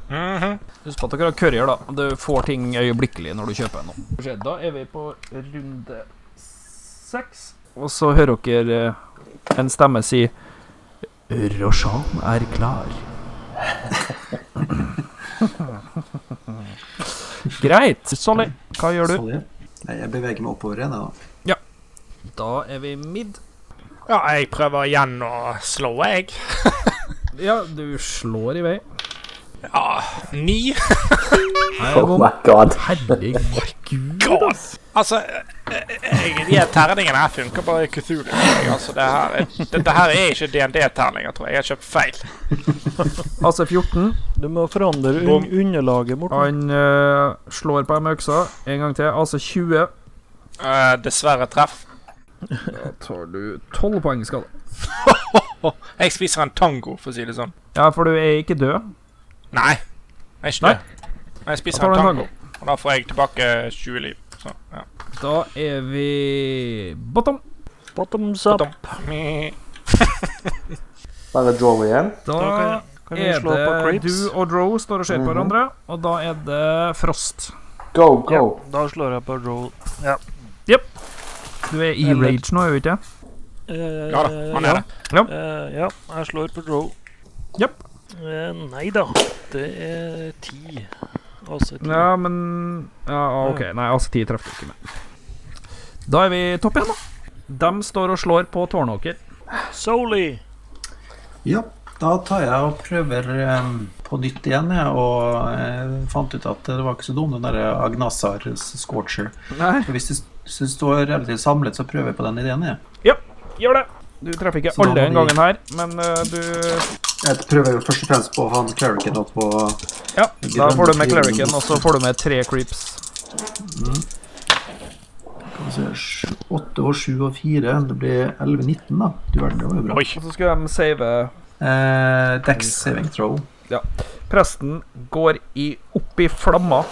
[SPEAKER 4] Mhm.
[SPEAKER 2] Husk på at dere har courier, da. Du får ting øyeblikkelig når du kjøper noe. Skal vi se, Da er vi på runde seks. Og så hører dere eh, en stemme si Roshan er klar. Greit. Solly, hva gjør du?
[SPEAKER 5] Sorry. Nei, jeg beveger meg oppover igjen, jeg, da.
[SPEAKER 2] Da er vi midd.
[SPEAKER 4] Ja, jeg prøver igjen å slå, jeg.
[SPEAKER 2] Ja, du slår i vei.
[SPEAKER 4] Ja, Ah, ni.
[SPEAKER 6] Oh my god.
[SPEAKER 2] Herregud.
[SPEAKER 4] God. Altså, eh, jeg, de her terningene her funker bare i Cthulhu. jeg. Altså, det her, er- dette her er ikke DND-terninger, tror jeg. Jeg har kjøpt feil.
[SPEAKER 2] Altså AC14.
[SPEAKER 9] Du må forandre un underlaget, Morten.
[SPEAKER 2] Han eh, slår på med øksa en gang til. Altså AC20.
[SPEAKER 4] Eh, dessverre treff.
[SPEAKER 2] Da tar du 12 poeng skade.
[SPEAKER 4] Jeg spiser en tango, for å si det sånn.
[SPEAKER 2] Ja, for du er ikke død.
[SPEAKER 4] Nei. Jeg er ikke
[SPEAKER 2] Nei.
[SPEAKER 4] det. Men Jeg spiser
[SPEAKER 2] Da tar
[SPEAKER 4] en
[SPEAKER 2] du en
[SPEAKER 4] tango, og da får jeg tilbake 20 liv. Så, ja.
[SPEAKER 2] Da er vi bottom.
[SPEAKER 9] Bottoms up.
[SPEAKER 4] Dump. Me.
[SPEAKER 6] Bare draw igjen.
[SPEAKER 2] Da
[SPEAKER 9] Da kan, kan vi
[SPEAKER 2] er
[SPEAKER 9] slå på
[SPEAKER 2] det
[SPEAKER 9] creeps.
[SPEAKER 2] du og Dro står og ser på hverandre, og da er det Frost.
[SPEAKER 6] Go, go.
[SPEAKER 9] Da slår jeg på roll.
[SPEAKER 2] Du er i
[SPEAKER 9] Eller-
[SPEAKER 2] rage nå, er du ikke?
[SPEAKER 9] Eh,
[SPEAKER 4] Ja da, han er det.
[SPEAKER 2] Ja.
[SPEAKER 9] Eh, ja, jeg slår på roll.
[SPEAKER 2] Japp.
[SPEAKER 9] Eh, nei da. Det er ti. Altså ti.
[SPEAKER 2] Ja, men Ja, OK. Nei, AC10 traff du ikke med. Da er vi topp igjen, da. De står og slår på Tårnåker.
[SPEAKER 9] Soli.
[SPEAKER 5] Ja. Da tar jeg og prøver eh, på nytt igjen, jeg, og eh, fant ut at det var ikke så dum, den derre Agnasar Scorcher.
[SPEAKER 2] Nei.
[SPEAKER 5] For hvis det, hvis det står relativt samlet, så prøver jeg på den ideen, jeg.
[SPEAKER 2] Gjør det. Du treffer ikke
[SPEAKER 5] Så da
[SPEAKER 2] alle
[SPEAKER 5] må
[SPEAKER 2] den
[SPEAKER 5] vi-
[SPEAKER 2] gangen her, men eh, du
[SPEAKER 5] Jeg prøver jo først og fremst på han Clericen og på
[SPEAKER 2] Ja, da får du med Clericen, og så får du med tre creeps.
[SPEAKER 5] altså, 8 og 7 og 4. Det blir 11-19, da. Du verden, det var jo bra.
[SPEAKER 4] Oi.
[SPEAKER 2] Og så skal de save
[SPEAKER 5] Eh, Dex saving throw.
[SPEAKER 2] Presten går i opp i flamma.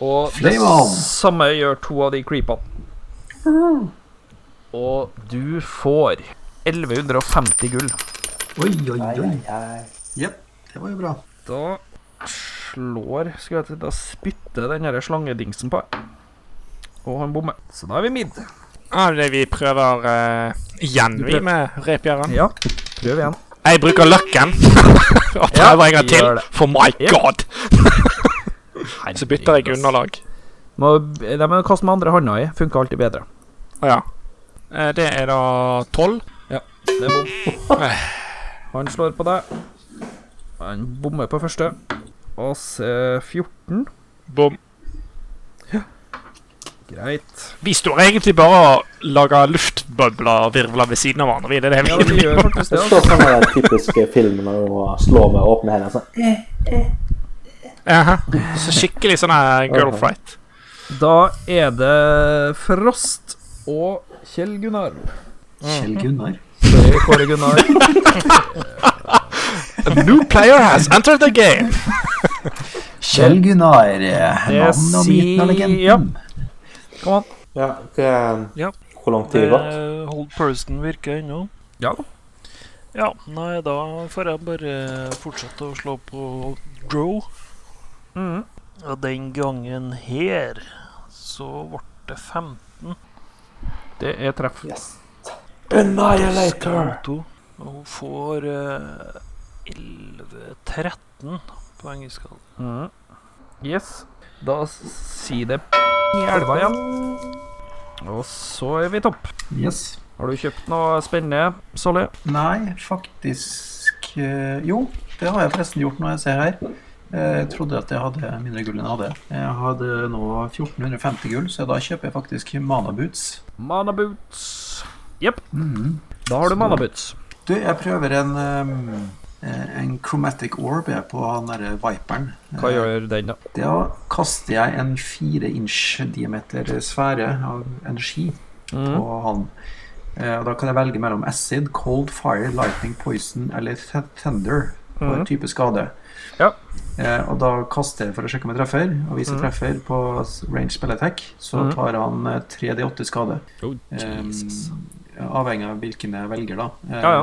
[SPEAKER 2] Og det
[SPEAKER 5] Flame on!
[SPEAKER 2] samme gjør to av de creepene. Og du får 1150 gull.
[SPEAKER 5] Oi, oi, oi.
[SPEAKER 6] Nei.
[SPEAKER 5] Jepp, det var jo bra.
[SPEAKER 2] Da slår Skal jeg til Da spytter den her slangedingsen på. Og han bommer. Så da er vi midt.
[SPEAKER 4] Ja, det vi prøver eh, Igjen vi med repjæren.
[SPEAKER 2] Ja, prøv igjen.
[SPEAKER 4] Jeg bruker løkken og prøver en gang til,
[SPEAKER 2] gjør det.
[SPEAKER 4] for my
[SPEAKER 2] Ja.
[SPEAKER 4] god! Så bytter jeg underlag.
[SPEAKER 2] Må, nei, men Kast med andre hånda i. Funker alltid bedre.
[SPEAKER 4] Ja. Eh, Det er da tolv.
[SPEAKER 2] Det er bom. Han slår på deg. Han bommer på første. Og så 14.
[SPEAKER 4] Bom.
[SPEAKER 2] Greit.
[SPEAKER 4] Vi står egentlig bare og lager luftbobler og virvler ved siden av hverandre. vi. Det er det
[SPEAKER 2] Ja,
[SPEAKER 4] vi
[SPEAKER 2] vi gjør faktisk det.
[SPEAKER 6] Det
[SPEAKER 2] altså.
[SPEAKER 6] står sånn den typiske filmen når du må slå med åpne hender. Sånn.
[SPEAKER 4] Aha. Så skikkelig sånn her girlfright.
[SPEAKER 2] Da er det Frost og Kjell Gunnar. Mm.
[SPEAKER 5] Kjell Gunnar.
[SPEAKER 2] Sorry, Kåre Gunnar.
[SPEAKER 4] A new player has entered the game.
[SPEAKER 5] Kjell Gunnar. eh,
[SPEAKER 2] Det
[SPEAKER 5] Navnet og myten og legenden.
[SPEAKER 2] sier- ja. Kom an.
[SPEAKER 6] Ja, det,
[SPEAKER 9] Ja.
[SPEAKER 6] Hvor lang tid det
[SPEAKER 9] Det
[SPEAKER 6] gått?
[SPEAKER 9] Eh, Hold person virker ennå.
[SPEAKER 2] Ja da.
[SPEAKER 9] Ja, nei, da får jeg bare fortsette å slå på Grow.
[SPEAKER 2] Mhm.
[SPEAKER 9] Og den gangen her så ble det 15
[SPEAKER 2] Det er treff.
[SPEAKER 6] Yes. Annihilator!
[SPEAKER 9] skam to. Og hun får eh, 11-13 på engelskskala.
[SPEAKER 2] Mhm. Yes. Da s- sier det i elva igjen. Og så er vi topp.
[SPEAKER 5] Yes.
[SPEAKER 2] Har du kjøpt noe spennende, Solly?
[SPEAKER 5] Nei, faktisk eh, Jo, det har jeg forresten gjort når jeg ser her. Eh, Jeg trodde at jeg hadde mindre gull enn jeg hadde. Jeg hadde nå 1450 gull, så da kjøper jeg faktisk Mana Boots.
[SPEAKER 2] Manaboots. Jepp.
[SPEAKER 5] Mhm.
[SPEAKER 2] Da har du
[SPEAKER 5] Så-
[SPEAKER 2] manaboots.
[SPEAKER 5] Du, jeg prøver en ehm, eh, En Chromatic Orb jeg, på han derre Viperen.
[SPEAKER 2] Hva gjør den, da?
[SPEAKER 5] Da kaster jeg en fire inch diameter sfære av energi
[SPEAKER 2] Mm.
[SPEAKER 5] på han. Eh, og da kan jeg velge mellom acid, cold fire, lightning, poison eller th thunder på en type skade.
[SPEAKER 2] Mm. Ja. Mm.
[SPEAKER 5] Eh, og da kaster jeg for å sjekke om jeg treffer, og hvis jeg treffer på s- range spell attack, så tar han eh, 3D8 skade.
[SPEAKER 2] Oh,
[SPEAKER 5] Eh, avhengig av hvilken jeg velger, da. Eh,
[SPEAKER 2] Ja,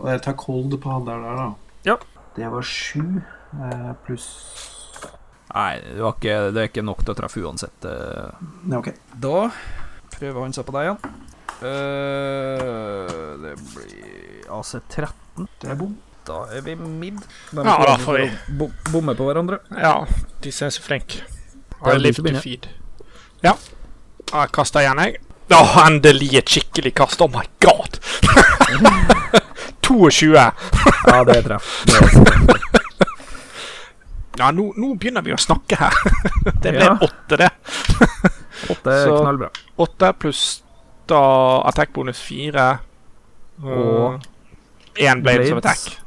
[SPEAKER 5] Og jeg tar cold på han der, der da.
[SPEAKER 2] Ja.
[SPEAKER 5] Det var sju eh, pluss
[SPEAKER 2] Nei, det, var ikke, det er ikke nok til å treffe uansett. eh.
[SPEAKER 5] Nei, ok.
[SPEAKER 2] Da prøver han seg på deg igjen. Eh, det blir AC13.
[SPEAKER 5] Det er bom.
[SPEAKER 2] Da er vi mid. De
[SPEAKER 4] Ja, da
[SPEAKER 2] to
[SPEAKER 4] får vi
[SPEAKER 2] bo- Bommer på hverandre.
[SPEAKER 4] Ja, de ser så flinke.
[SPEAKER 2] Da er
[SPEAKER 4] I
[SPEAKER 2] det du
[SPEAKER 4] live
[SPEAKER 2] som
[SPEAKER 4] to
[SPEAKER 2] begynner.
[SPEAKER 4] feed. Ja. Jeg kaster igjen, jeg. Å, endelig et skikkelig kast. Oh my god! 22.
[SPEAKER 2] Ja, det er treff. Det er
[SPEAKER 4] Ja, nå, nå begynner vi å snakke her. Det ble
[SPEAKER 2] Ja.
[SPEAKER 4] åtte, det.
[SPEAKER 2] åtte er
[SPEAKER 4] Så-
[SPEAKER 2] knallbra.
[SPEAKER 4] Åtte pluss da attack bonus fire.
[SPEAKER 2] Og-
[SPEAKER 4] én blades of
[SPEAKER 2] Blades.
[SPEAKER 4] attack.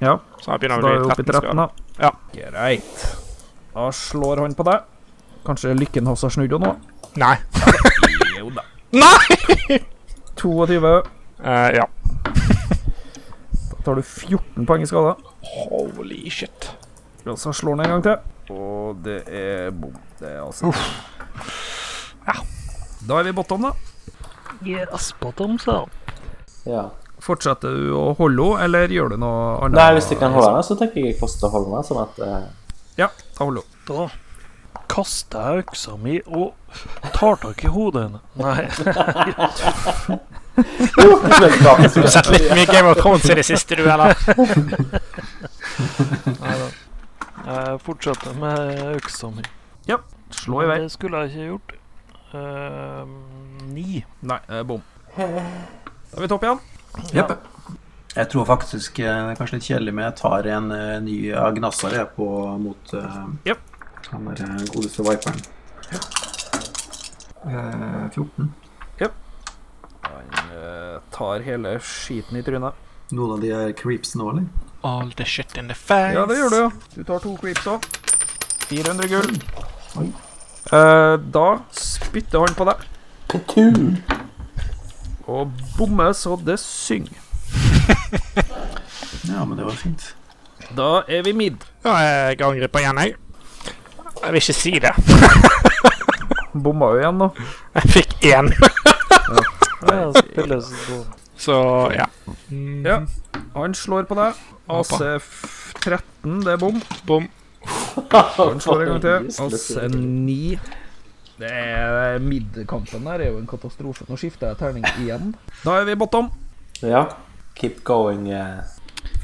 [SPEAKER 2] Ja,
[SPEAKER 4] Så da begynner
[SPEAKER 2] da er
[SPEAKER 4] vi
[SPEAKER 2] vi
[SPEAKER 4] å
[SPEAKER 2] oppe
[SPEAKER 4] bli
[SPEAKER 2] i 13,
[SPEAKER 4] 13.
[SPEAKER 2] da.
[SPEAKER 4] Ja.
[SPEAKER 2] Greit. Da slår han på deg. Kanskje lykken hans har snudd henne nå.
[SPEAKER 4] skader. Nei. Nei!
[SPEAKER 2] 22.
[SPEAKER 4] Eh, ja.
[SPEAKER 2] Da tar du 14 poeng i skade.
[SPEAKER 4] Holy shit.
[SPEAKER 2] Og så slår han en gang til. Og det er bom. Det er altså Da er vi i bottom, da.
[SPEAKER 9] Yes, bottom, sa han.
[SPEAKER 6] Ja.
[SPEAKER 2] Fortsetter du å holde henne, eller gjør du noe annet?
[SPEAKER 6] Nei, hvis du kan holde den, så tenker jeg jeg fortsetter å holde den. Sånn at eh,
[SPEAKER 2] Ja, da holder hun.
[SPEAKER 9] Da kaster jeg øksa mi og tar tak i hodet henne. Nei,
[SPEAKER 6] jo, det ble bra på
[SPEAKER 4] Du har
[SPEAKER 6] siden.
[SPEAKER 4] sett litt mye Game of Thrones i det siste, du, eller?
[SPEAKER 9] jeg fortsetter med øksa mi.
[SPEAKER 2] Slå i vei.
[SPEAKER 9] Det skulle jeg ikke gjort. Eh, Ni.
[SPEAKER 2] Nei, det er bom. Da er vi topp igjen.
[SPEAKER 5] Jeg tror faktisk eh, det er kanskje litt kjedelig, men jeg tar en eh, ny Agnasar jeg, på, mot uh,
[SPEAKER 2] Jep.
[SPEAKER 5] han der eh, godeste viperen. Eh, 14.
[SPEAKER 2] Han eh, tar hele skiten i trynet.
[SPEAKER 5] Noen av de er creeps nå, eller?
[SPEAKER 4] All the shit in the face.
[SPEAKER 2] Ja, det gjør du, ja. Du tar to creeps òg. 400 gull.
[SPEAKER 5] Oi.
[SPEAKER 2] Eh, da spytter han på deg
[SPEAKER 6] Petu!
[SPEAKER 2] og bommer så det synger.
[SPEAKER 5] Ja, men det var fint.
[SPEAKER 2] Da er vi mid.
[SPEAKER 4] Ja, jeg angriper igjen, jeg. Jeg vil ikke si det.
[SPEAKER 2] Bomma jo igjen nå.
[SPEAKER 4] Jeg fikk én,
[SPEAKER 9] Ja, spilles på.
[SPEAKER 4] så ja.
[SPEAKER 2] Ja. Han slår på deg. AC13, det er bom.
[SPEAKER 4] Bom.
[SPEAKER 2] Han slår en gang til. AC9. Det er Midkampen her er jo en katastrofe. Nå skifter jeg terning igjen. Da er vi bottom.
[SPEAKER 6] Ja. Keep going. eh,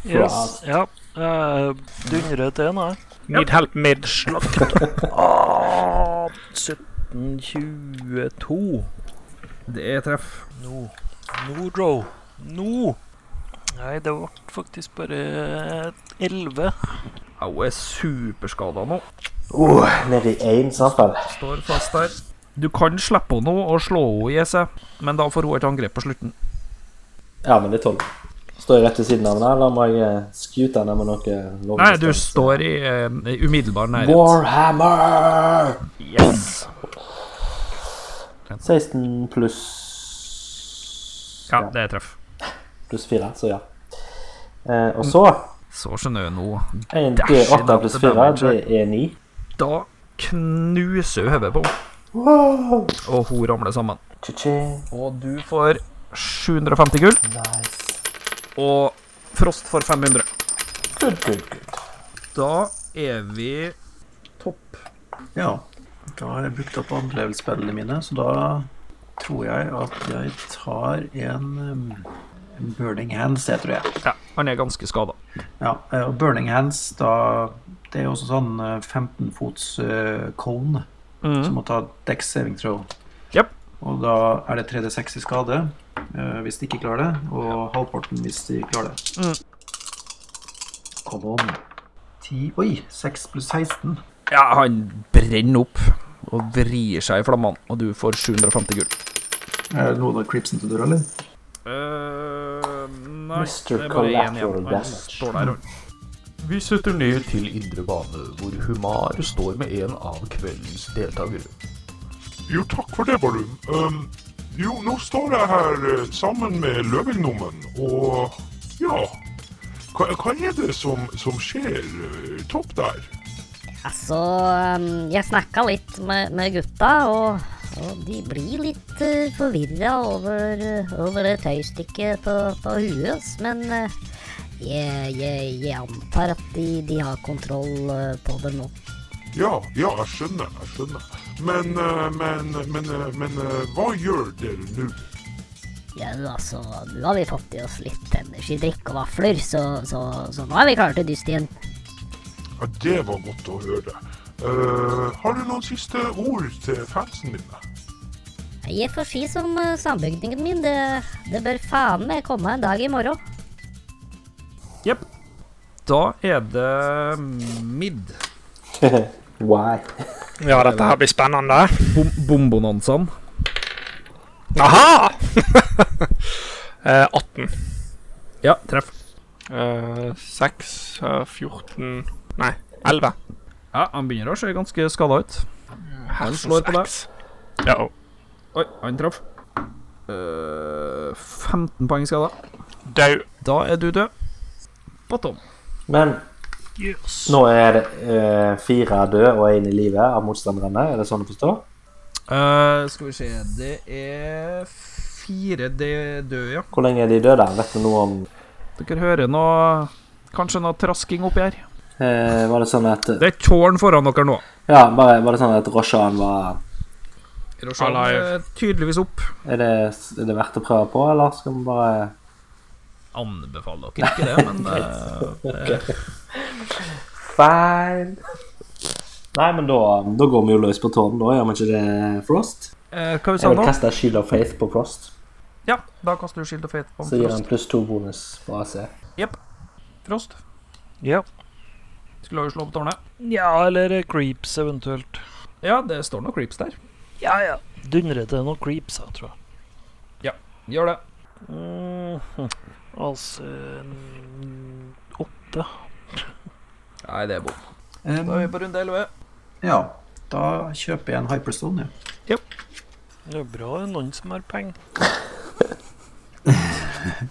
[SPEAKER 9] Yes, ja. Uh, Dundrer til nå.
[SPEAKER 4] Need help mid-slakt.
[SPEAKER 9] 1722.
[SPEAKER 2] Det er treff.
[SPEAKER 9] Nå. Nå, bro. Nå! Nei, det ble faktisk bare eh, 11.
[SPEAKER 2] Au, jeg er superskada nå.
[SPEAKER 6] Oh, nede i én, sant vel?
[SPEAKER 2] Står fast der. Du kan slippe henne nå og slå henne i seg, men da får hun et angrep på slutten.
[SPEAKER 6] Ja, men det tåler jeg. Står jeg rett ved siden av henne, eller må jeg eh, skute henne med noe lovende
[SPEAKER 2] Nei, du
[SPEAKER 6] stand?
[SPEAKER 2] står i eh, i umiddelbar nærhet.
[SPEAKER 6] Warhammer!
[SPEAKER 9] Yes!
[SPEAKER 6] 16 pluss
[SPEAKER 2] Ja, det er treff.
[SPEAKER 6] pluss 4, så ja. Eh, og så
[SPEAKER 2] Så skjønner jeg nå.
[SPEAKER 6] 1
[SPEAKER 2] Dash inn
[SPEAKER 6] D8
[SPEAKER 2] at
[SPEAKER 6] pluss
[SPEAKER 2] det
[SPEAKER 6] 4,
[SPEAKER 2] damager.
[SPEAKER 6] det er 9.
[SPEAKER 2] Da knuser hun hodet på henne, og hun ramler sammen.
[SPEAKER 6] Cha-ching.
[SPEAKER 2] Og du får 750 gull,
[SPEAKER 6] Nice.
[SPEAKER 2] og Frost får 500.
[SPEAKER 6] Good, good, good.
[SPEAKER 2] Da er vi topp.
[SPEAKER 5] Ja. Da har jeg brukt opp andre level-spillene mine, så da tror jeg at jeg tar en um, en Burning Hands, det tror jeg.
[SPEAKER 2] Ja, han er ganske skada.
[SPEAKER 5] Ja, eh, og Burning Hands, da Det er jo også sånn eh, 15 fots eh, cone,
[SPEAKER 6] Mm.
[SPEAKER 5] som må ta dex saving throw.
[SPEAKER 2] Mm. Jep.
[SPEAKER 5] Og da er det 3D6 i skade eh, hvis de ikke klarer det, og halvparten hvis de klarer det.
[SPEAKER 2] Mm.
[SPEAKER 5] Come on. 10 Oi! 6 pluss 16.
[SPEAKER 2] Ja, han brenner opp og vrir seg i flammene, og du får 750 gull.
[SPEAKER 5] Er det noe av Cripsen til døra, eller?
[SPEAKER 2] nei,
[SPEAKER 6] Mr. Uh, det er bare én igjen. Collateral Han Damage. står
[SPEAKER 1] Vi setter ned til indre bane, hvor Humar står med en av kveldens deltakere.
[SPEAKER 8] Jo, takk for det, Barum. Ehm, jo, nå står jeg her eh, sammen med Løvingnommen, og ja hva, hva er det som, som skjer eh, topp der?
[SPEAKER 11] Altså, ehm, jeg snakka litt med, med gutta, og, og de blir litt uh, forvirra over, eh, over det tøystykket på, på huet hans, men eh, jeg, jeg, jeg antar at de, de har kontroll eh, på det nå.
[SPEAKER 8] Ja, ja, jeg skjønner, jeg skjønner. Men, eh, men, men, eh, men eh, hva gjør dere nå?
[SPEAKER 11] Ja, altså, nå har vi fått i oss litt energidrikk og vafler, så, så, så nå er vi klare til dyst igjen.
[SPEAKER 8] Ja, det var godt å høre. Eh, har du noen siste ord til fansen mine?
[SPEAKER 11] Jeg får si som eh, sambygdingen min, det, det bør faen meg komme en dag i morgen.
[SPEAKER 2] Da er det midd.
[SPEAKER 6] Why?
[SPEAKER 4] Ja, dette her blir spennende.
[SPEAKER 2] Bom Bombonanzaen.
[SPEAKER 4] Aha! Eh, 18.
[SPEAKER 2] Ja, treff.
[SPEAKER 4] Eh, 6, eh, 14 Nei, 11.
[SPEAKER 2] Ja, Han begynner å se ganske skada ut. Han slår på deg.
[SPEAKER 4] Ja, og
[SPEAKER 2] Oi, han traff. Eh, 15 poeng skada.
[SPEAKER 4] dau.
[SPEAKER 2] Da er du død. Bottom.
[SPEAKER 6] Men nå er det eh, fire døde og én i live av motstanderne, er det sånn å forstå?
[SPEAKER 2] Eh, skal vi se Det er fire d- døde, ja.
[SPEAKER 6] Hvor lenge er de døde? Vet vi noe om
[SPEAKER 2] Dere hører noe Kanskje noe trasking oppi her.
[SPEAKER 6] eh, Var det sånn at
[SPEAKER 2] Det er et tårn foran dere nå.
[SPEAKER 6] Ja, bare, var det sånn at Roshan var
[SPEAKER 2] Roshan
[SPEAKER 4] Alive.
[SPEAKER 2] er tydeligvis opp.
[SPEAKER 6] er det, er det verdt å prøve på, eller skal vi bare
[SPEAKER 2] Anbefaler dere ikke det, men eh,
[SPEAKER 6] Fine. Nei, men da, da går vi jo løs på tårnet, da. Gjør vi ikke det, Frost?
[SPEAKER 2] eh, Hva vi sa
[SPEAKER 6] Jeg vil
[SPEAKER 2] nå?
[SPEAKER 6] kaste Shield of Faith på Frost.
[SPEAKER 2] Ja, da kaster du Shield of Fate på
[SPEAKER 6] Så gir han
[SPEAKER 2] Frost.
[SPEAKER 6] pluss to bonus på AC.
[SPEAKER 2] Frost.
[SPEAKER 9] Ja.
[SPEAKER 2] Skulle jo slå på tårnet.
[SPEAKER 9] ja, eller eh, creeps eventuelt.
[SPEAKER 2] Ja, det står noen creeps der.
[SPEAKER 9] Ja, ja. Dundrer til noen creeps, jeg tror jeg.
[SPEAKER 2] Gjør det.
[SPEAKER 9] Mhm. Altså mm, en åtte.
[SPEAKER 2] Nei, det er bom. Da Eh, er
[SPEAKER 5] Um,
[SPEAKER 2] vi på runde 11.
[SPEAKER 5] ja, da kjøper jeg en Hyperstone, ja.
[SPEAKER 9] Det er bra det er noen som har penger.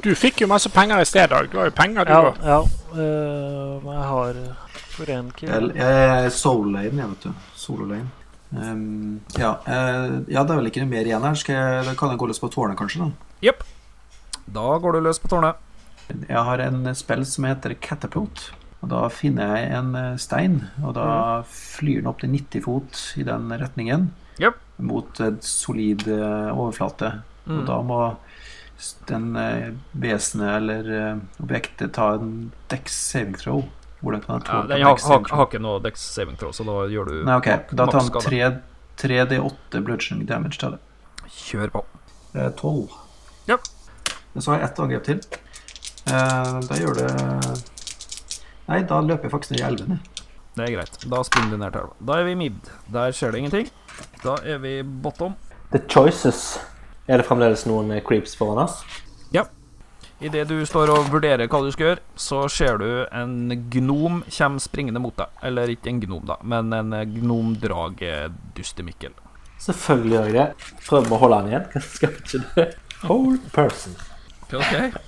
[SPEAKER 4] Du fikk jo masse penger i sted, Dag. Du har jo penger, du
[SPEAKER 9] Ja,
[SPEAKER 4] òg.
[SPEAKER 9] ja. eh, men jeg har eh, for én kill.
[SPEAKER 5] Jeg, jeg er solo-lane, jeg, vet du. Solo-lane. Um, ja, eh, ja, det er vel ikke noe mer igjen her. Skal jeg, da kan jeg gå løs på tårnet, kanskje? da
[SPEAKER 2] Da går du løs på tårnet.
[SPEAKER 5] Jeg har en spill som heter Catapult. Og Da finner jeg en eh, stein, og da
[SPEAKER 2] Mhm.
[SPEAKER 5] flyr den opp til 90 fot i den retningen.
[SPEAKER 2] Jep. Mm. Mhm.
[SPEAKER 5] Mot en solid eh, overflate. Og da må den eh, vesenet eller eh, objektet ta en dex saving throw. Hvordan kan jeg
[SPEAKER 2] Ja,
[SPEAKER 5] tåle
[SPEAKER 2] den
[SPEAKER 5] en
[SPEAKER 2] har,
[SPEAKER 5] dex
[SPEAKER 2] har,
[SPEAKER 5] saving throw?
[SPEAKER 2] har ikke noe dex saving throw, så da gjør du
[SPEAKER 5] Nei, ok. Da tar han
[SPEAKER 2] maksskade.
[SPEAKER 5] 3, 3D8 bludgeoning damage til det.
[SPEAKER 2] Kjør på.
[SPEAKER 5] Det er 12.
[SPEAKER 2] Ja.
[SPEAKER 5] Eh, Men så har jeg ett angrep til. Eh, da gjør det Nei, da løper jeg faktisk ned i elven. jeg.
[SPEAKER 2] Det er greit. Da springer du ned til elva. Da er vi mid. Der skjer det ingenting. Da er vi bottom.
[SPEAKER 6] The choices. Er det fremdeles noen eh, creeps foran oss?
[SPEAKER 2] Idet du står og vurderer hva du skal gjøre, så ser du en gnom komme springende mot deg. Eller ikke en gnom, da, men en eh, gnomdragedustemikkel.
[SPEAKER 6] Selvfølgelig gjør jeg det. Prøver å holde han igjen. Skal ikke det? Whole person.
[SPEAKER 2] OK.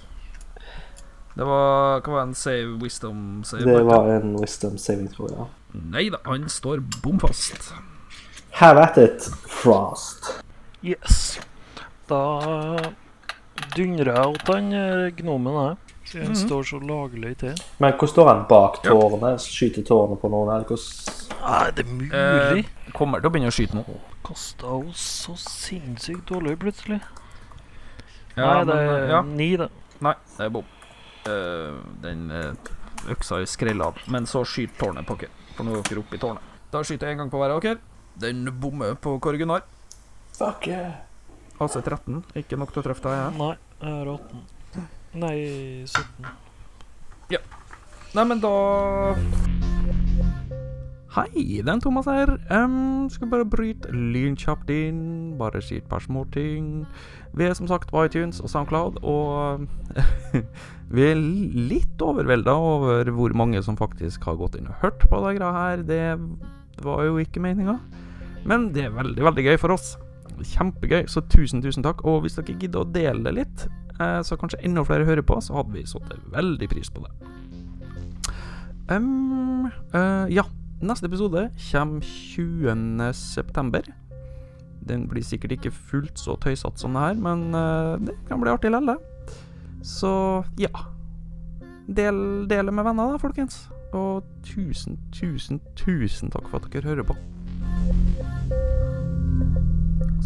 [SPEAKER 2] Det var Hva var en save wisdom save?
[SPEAKER 6] Det
[SPEAKER 2] Martin?
[SPEAKER 6] var en wisdom saving, tror jeg.
[SPEAKER 2] Nei da, han står bom fast.
[SPEAKER 6] Have at it, Frost.
[SPEAKER 9] Yes. Da dundrer jeg åt den eh, gnomen her. Siden han
[SPEAKER 6] Mhm.
[SPEAKER 9] står så laglig til.
[SPEAKER 6] Men hvor står han bak tårnet? Skyter tårnet på noen? Eller hvordan
[SPEAKER 9] Nei, det er mulig.
[SPEAKER 2] kommer til å begynne å skyte nå.
[SPEAKER 9] Kasta jo så sinnssykt dårlig plutselig.
[SPEAKER 2] Ja,
[SPEAKER 9] Nei, det
[SPEAKER 2] men,
[SPEAKER 9] er
[SPEAKER 2] ja.
[SPEAKER 9] ni, det.
[SPEAKER 2] Nei, det er bom. Eh, den eh, øksa er skrella av, men så skyter tårnet på dere. For nå er dere oppe i tårnet. Da skyter jeg en gang på hver av dere. Den bommer på Korgunar.
[SPEAKER 6] Fuck yeah.
[SPEAKER 2] AC13. Ikke nok til å treffe deg. jeg.
[SPEAKER 9] Nei, jeg har 18. Nei, 17.
[SPEAKER 2] Nei, men da Hei, det er en Thomas her. Um, skal bare bryte lynkjapt inn. Bare si et par småting. Vi er som sagt på iTunes og SoundCloud, og vi er litt overvelda over hvor mange som faktisk har gått inn og hørt på det greia her. Det var jo ikke meninga. Men det er veldig, veldig gøy for oss. Kjempegøy, så tusen, tusen takk. Og hvis dere gidder å dele det litt, eh, så kanskje enda flere hører på, så hadde vi satt veldig pris på det. Ehm, eh, ja, neste episode kommer 20. september. Den blir sikkert ikke fullt så tøysete som det her, men eh, det kan bli artig likevel, det. Så ja. Del, del det med venner, da, folkens. Og tusen, tusen, tusen takk for at dere hører på.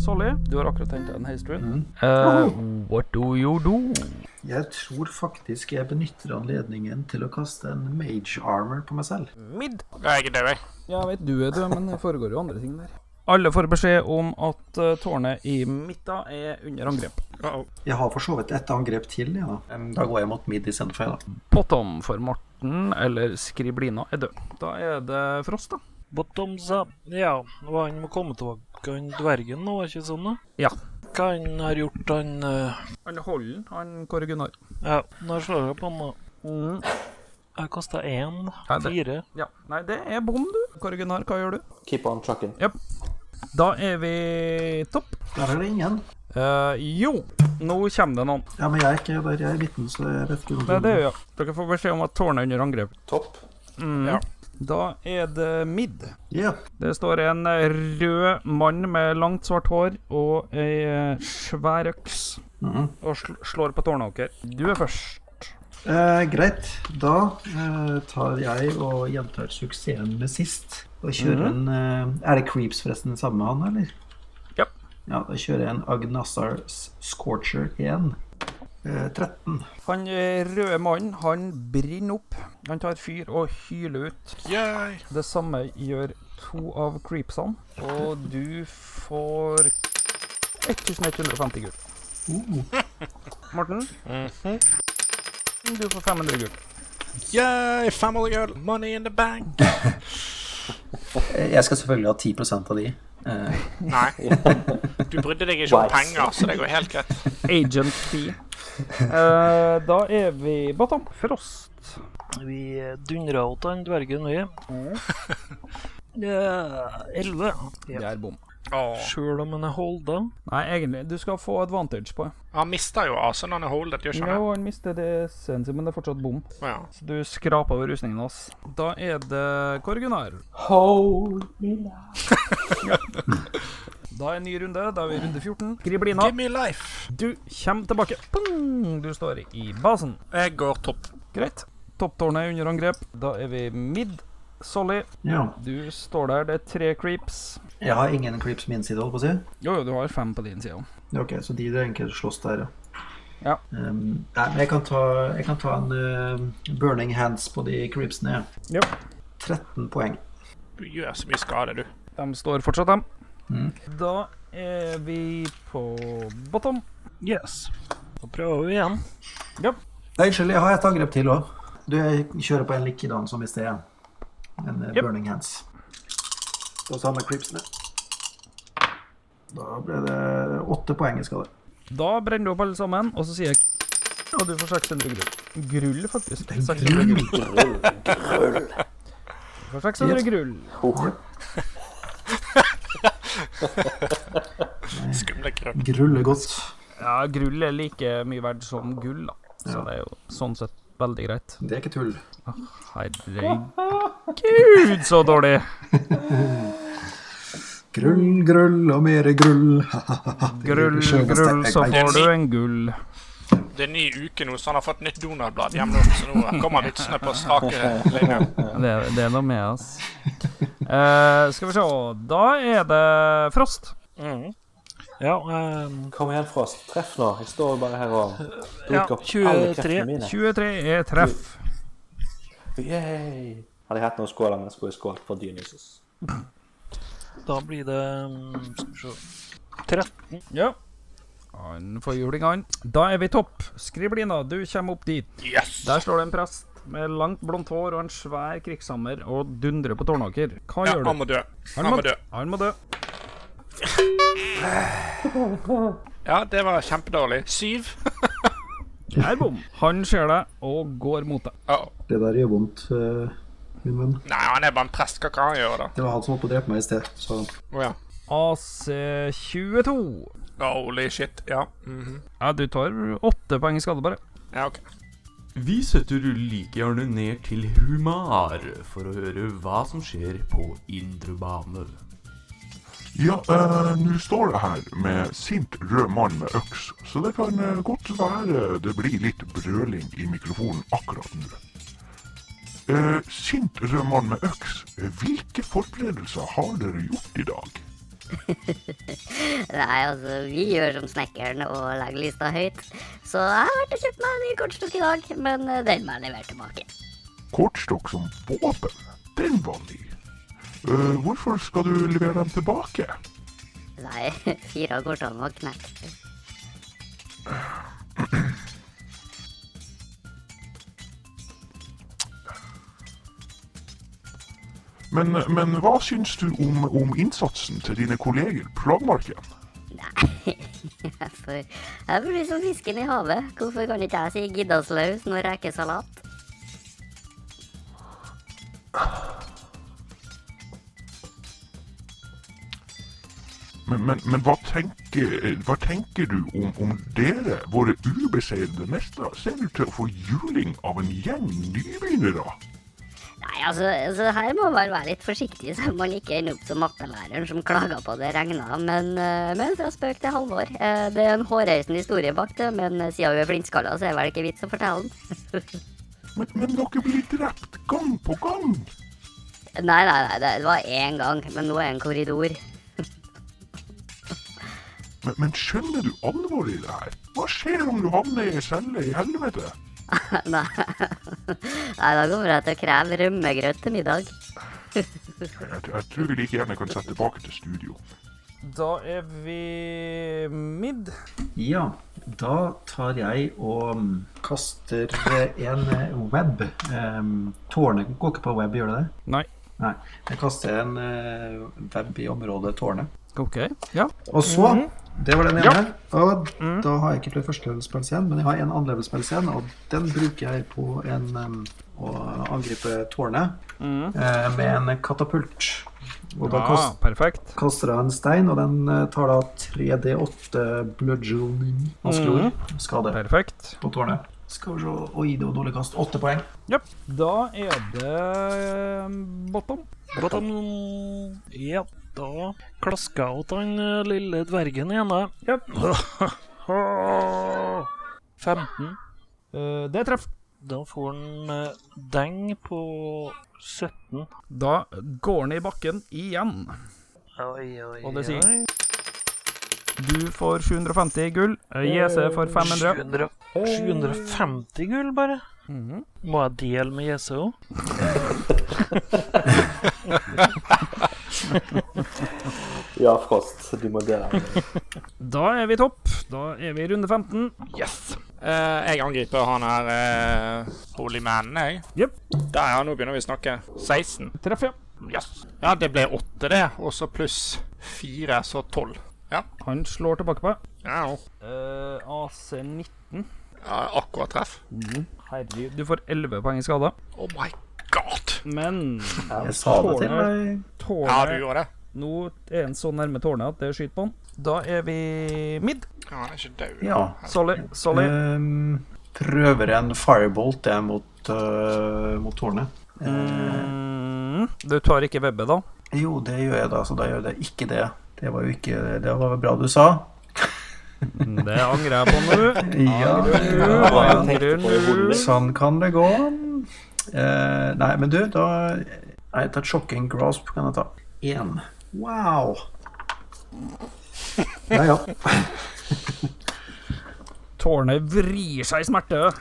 [SPEAKER 2] Solly, du har akkurat henta en hastrun. Eh, what do you do?
[SPEAKER 5] Mm. Jeg tror faktisk jeg benytter anledningen til å kaste en mage armor på meg selv.
[SPEAKER 2] Midd.
[SPEAKER 4] Jeg er død, jeg.
[SPEAKER 2] Ja, jeg vet du er død, men det foregår jo andre ting der. Alle får beskjed om at eh, tårnet i midten er under angrep.
[SPEAKER 5] Jeg har for så vidt ett angrep til, ja. Em, Da går jeg mot mid istedenfor, jeg, da.
[SPEAKER 2] Bottom for Morten, eller Skriblina, er død. Da er det Frost, da.
[SPEAKER 9] Bottoms up. Ja, hva han må komme tilbake han dvergen nå, er ikke sånn, da?
[SPEAKER 2] Ja.
[SPEAKER 9] Hva han har gjort, han eh,
[SPEAKER 2] Han holder den, han Kåre Gunnar.
[SPEAKER 9] Ja, nå slår jeg på han, da. Jeg kasta én,
[SPEAKER 2] Nei, det-
[SPEAKER 9] fire.
[SPEAKER 2] Ja. Nei, det er bom, du. Kåre Gunnar, hva gjør du?
[SPEAKER 6] Keep on trucking.
[SPEAKER 2] Jep. Da er vi topp.
[SPEAKER 5] Der er det ingen.
[SPEAKER 2] Eh, jo, nå kommer det noen.
[SPEAKER 5] Ja, men jeg er ikke der. Jeg er i midten, så jeg vet ikke
[SPEAKER 2] Det er det vi gjør. Dere får beskjed om at tårnet er under angrep.
[SPEAKER 6] Topp.
[SPEAKER 2] Mm. Da er det mid.
[SPEAKER 5] Ja.
[SPEAKER 2] Det står en eh, rød mann med langt, svart hår og ei eh, svær øks
[SPEAKER 5] Mhm.
[SPEAKER 2] og sl slår på tårnet deres. Du er først.
[SPEAKER 5] Eh, greit. Da eh, tar jeg og gjentar suksessen med sist. Og kjører en eh, Er det Creeps forresten sammen med han, eller?
[SPEAKER 2] Ja.
[SPEAKER 5] Ja, Da kjører jeg en Agnassar Scorcher 1. Eh, 13.
[SPEAKER 2] Han eh, røde mannen, han brenner opp. Han tar fyr og hyler ut.
[SPEAKER 4] Yay.
[SPEAKER 2] Det samme gjør to av creepsene, og du får 1150 gull. Morten, du får 500 gull.
[SPEAKER 4] Yay, family girl, money in the bank.
[SPEAKER 5] Eh, Jeg skal selvfølgelig ha 10 av de. Eh,
[SPEAKER 4] Nei. Du brydde deg ikke om
[SPEAKER 5] Wise.
[SPEAKER 4] penger, så det går helt greit.
[SPEAKER 2] Agent fee. da er vi bottom. Frost.
[SPEAKER 9] Vi eh, dundra åt han dvergen, vi. Ja, Elleve.
[SPEAKER 2] Det er bom.
[SPEAKER 9] Sjøl om han er holda.
[SPEAKER 2] Nei, egentlig. Du skal få advantage på det.
[SPEAKER 4] Han mister jo AC når han er holdet, gjør ikke han det?
[SPEAKER 2] Jo, han mister det sensi, men det er fortsatt bom.
[SPEAKER 4] Ja.
[SPEAKER 2] Så du skraper over rustningen hans. Da er det Kåre Gunnar.
[SPEAKER 6] Holy
[SPEAKER 2] Da er en ny runde. Da er vi i runde 14. Griblina,
[SPEAKER 4] Give me life.
[SPEAKER 2] du kommer tilbake. Pung! Du står i basen.
[SPEAKER 4] Jeg går topp.
[SPEAKER 2] Greit. Topptårnet er under angrep. Da er vi mid. Solly,
[SPEAKER 5] ja.
[SPEAKER 2] du står der. Det er tre creeps.
[SPEAKER 5] Jeg har ingen Creeps på min side, holdt på å si.
[SPEAKER 2] Jo, jo, du har fem på din side.
[SPEAKER 5] Ja, Ok, så de det egentlig slåss der, ja.
[SPEAKER 2] Ja.
[SPEAKER 5] Um, nei, men jeg kan ta, jeg kan ta en eh, burning hands på de creepsene.
[SPEAKER 2] Ja.
[SPEAKER 5] 13 poeng.
[SPEAKER 4] Du gjør så mye skade, du.
[SPEAKER 2] De står fortsatt, dem.
[SPEAKER 5] Mm.
[SPEAKER 2] Da er vi på bottom.
[SPEAKER 9] Yes. Da prøver vi igjen.
[SPEAKER 5] Nei, Unnskyld, jeg har et angrep til òg. Du jeg kjører på en likedan som i sted. En eh, burning hands. Og så har vi creepsene. Da ble det åtte poeng i skade.
[SPEAKER 2] Da brenner du opp alle sammen, og så sier jeg Og du får 600 grull. Grull, faktisk. 600
[SPEAKER 5] Grull,
[SPEAKER 2] grull.
[SPEAKER 5] grull, grull.
[SPEAKER 2] Du får 600
[SPEAKER 5] Yes.
[SPEAKER 2] grull.
[SPEAKER 4] Skumle krøll.
[SPEAKER 5] Grulle godt.
[SPEAKER 2] Ja, grull er like mye verdt som gull, da. Så
[SPEAKER 5] Ja.
[SPEAKER 2] det er jo sånn sett veldig greit.
[SPEAKER 5] Det er ikke tull.
[SPEAKER 2] Herregud, så dårlig!
[SPEAKER 5] Grull, grull og mer grull.
[SPEAKER 2] Grull, grull, så får du en gull.
[SPEAKER 4] Det er ny uke nå, så han har fått nytt Donald-blad hjemme nå, så nå kommer vitsene på strake linjer.
[SPEAKER 2] Det, det er noe med oss. Eh, skal vi se Da er det Frost.
[SPEAKER 9] Ja, ehm,
[SPEAKER 6] Kom igjen, Frost. Treff nå. Jeg står bare her og bruker
[SPEAKER 9] Ja,
[SPEAKER 6] opp alle
[SPEAKER 9] 23.
[SPEAKER 6] kreftene mine.
[SPEAKER 2] 23 er treff.
[SPEAKER 6] Yay. Hadde jeg hatt noen skåler, men skulle jeg skålt for Dionysus.
[SPEAKER 9] da blir det mm, Skal vi se 13.
[SPEAKER 2] Ja. Han får juling, han. Da er vi topp. Skriblina, du kommer opp dit.
[SPEAKER 4] Yes!
[SPEAKER 2] Der står det en prest med langt blondt hår og en svær krigshammer og dundrer på Tårnåker. Hva
[SPEAKER 4] Ja,
[SPEAKER 2] gjør du?
[SPEAKER 4] han må dø. Han må dø.
[SPEAKER 2] Han må dø.
[SPEAKER 4] Ja, det var kjempedårlig. Syv.
[SPEAKER 2] Det er bom. Han ser deg og går mot deg.
[SPEAKER 4] Uh-oh.
[SPEAKER 5] Det der gjør vondt, eh, min venn.
[SPEAKER 4] Nei, han er bare en prest. Hva kan han gjøre, da?
[SPEAKER 5] Det var han som holdt på å drepe meg i sted. Så
[SPEAKER 4] Å ja.
[SPEAKER 2] AC 22.
[SPEAKER 4] Holy shit. Ja. mhm.
[SPEAKER 2] Ja, du tar åtte poeng i skade, bare.
[SPEAKER 4] ja, OK.
[SPEAKER 12] Vi setter like gjerne ned til Humar for å høre hva som skjer på indre bane.
[SPEAKER 8] Ja, eh, nå står jeg her med sint rød mann med øks, så det kan eh, godt være det blir litt brøling i mikrofonen akkurat nå. Eh, sint rød mann med øks, eh, hvilke forberedelser har dere gjort i dag?
[SPEAKER 11] Nei, altså, vi gjør som snekkeren og lager lista høyt. Så jeg har vært og kjøpt meg en ny kortstokk i dag, men eh, den må jeg levere tilbake.
[SPEAKER 8] Kortstokk som våpen, den var ny. Eh, hvorfor skal du levere dem tilbake?
[SPEAKER 11] Nei, fire av kortene var knekt.
[SPEAKER 8] Men, men hva syns du om, om innsatsen til dine kolleger på lagmarken?
[SPEAKER 11] Nei, jeg får, jeg får bli som fisken i havet. Hvorfor kan ikke jeg si giddaslaus når jeg ikke salat?
[SPEAKER 8] Men, men, men hva, tenker, hva tenker du om, om dere, våre ubeseirede mestere, ser ut til å få juling av en gjeng nybegynnere?
[SPEAKER 11] Nei, altså, altså her må man være litt forsiktig, så man ikke ender opp som mattelæreren som klaga på det regna. Men, eh, men fra spøk til halvår. Eh, Det er en hårreisende historie bak det, men eh, siden hun er flintskalla, så er det vel ikke vits å fortelle den.
[SPEAKER 8] Men, men dere blir drept gang på gang!
[SPEAKER 11] nei, nei, nei, det var én gang, men nå er det en korridor.
[SPEAKER 8] Men, men skjønner du alvoret i det her? Hva skjer om du havner i ei celle i helvete?
[SPEAKER 11] nei. nei, da kommer jeg til å kreve rømmegrøt til middag.
[SPEAKER 8] Jeg, jeg tror vi like gjerne kan sette tilbake til studio.
[SPEAKER 2] Da er vi midd.
[SPEAKER 5] Ja, da tar jeg og mm, kaster eh, en web. Um, tårnet går ikke på web, gjør det det?
[SPEAKER 2] Nei.
[SPEAKER 5] Nei. Jeg kaster en eh, web i området Tårnet.
[SPEAKER 2] OK. Ja.
[SPEAKER 5] Og så
[SPEAKER 2] Mhm.
[SPEAKER 5] Det var den ene. Og da har jeg ikke flere førstelevelspels igjen, men jeg har en andrelevelspels igjen, og den bruker jeg på en, em, å angripe Tårnet eh, med en katapult. Og da
[SPEAKER 2] Mhm. Ah,
[SPEAKER 5] kast,
[SPEAKER 2] perfekt.
[SPEAKER 5] kaster jeg en stein, og den eh, tar da 3D8 bludgeoning, vanskelig ord, skade.
[SPEAKER 2] Perfekt.
[SPEAKER 5] på tårnet. Skal vi se Oi, det var dårlig kast. Åtte poeng.
[SPEAKER 2] Ja. Da er det bottom.
[SPEAKER 9] Bottom. Ja, da klaska jeg til den eh, lille dvergen igjen, da. Yep. 15.
[SPEAKER 2] Eh, det er treff.
[SPEAKER 9] Da får han eh, deng på 17.
[SPEAKER 2] Da går han i bakken igjen.
[SPEAKER 9] Oi, oi,
[SPEAKER 2] Og det sier-
[SPEAKER 9] oi.
[SPEAKER 1] Du får 750 gull. Eh, JC får 500.
[SPEAKER 9] 700 750 gull, bare.
[SPEAKER 2] Mhm.
[SPEAKER 9] Må jeg dele med JC òg?
[SPEAKER 6] Ja, Frost, du må dele.
[SPEAKER 2] Da er vi topp. Da er vi i runde 15.
[SPEAKER 4] Yes. Eh, jeg angriper han her eh, holy mannen, jeg.
[SPEAKER 2] Yep.
[SPEAKER 4] Der, ja. Nå begynner vi å snakke. 16.
[SPEAKER 2] Treff, ja.
[SPEAKER 4] Yes. Ja, det ble 8, det. Og så pluss 4, så 12. Ja.
[SPEAKER 2] Han slår tilbake på deg.
[SPEAKER 4] Ja,
[SPEAKER 2] Eh, AC 19.
[SPEAKER 4] ja akkurat treff.
[SPEAKER 2] Herregud, du får 11 poeng i skade.
[SPEAKER 4] Oh my god.
[SPEAKER 2] Men
[SPEAKER 5] Jeg sa det til
[SPEAKER 2] tårnet- tårnet-
[SPEAKER 4] Ja, du gjorde det.
[SPEAKER 2] Nå er han så nærme tårnet at det skyter på han. Da er vi midd.
[SPEAKER 4] Ja, han er ikke død.
[SPEAKER 5] Ja.
[SPEAKER 2] Solly. Solly.
[SPEAKER 5] Ehm, prøver en firebolt jeg mot, øh, mot tårnet. Eh.
[SPEAKER 2] Mm, du tar ikke webbet, da?
[SPEAKER 5] Jo, det gjør jeg da, så da gjør jeg ikke det. Det var jo ikke Det var bra du sa.
[SPEAKER 2] Det angrer jeg på nå.
[SPEAKER 5] Ja.
[SPEAKER 2] Angrer nå, angrer nå.
[SPEAKER 5] Sånn kan det gå. Eh, nei, men du, da Nei, jeg tar shocking grasp. Kan jeg ta én? Wow. Ja, ja.
[SPEAKER 2] Tårnet vrir seg i smerte.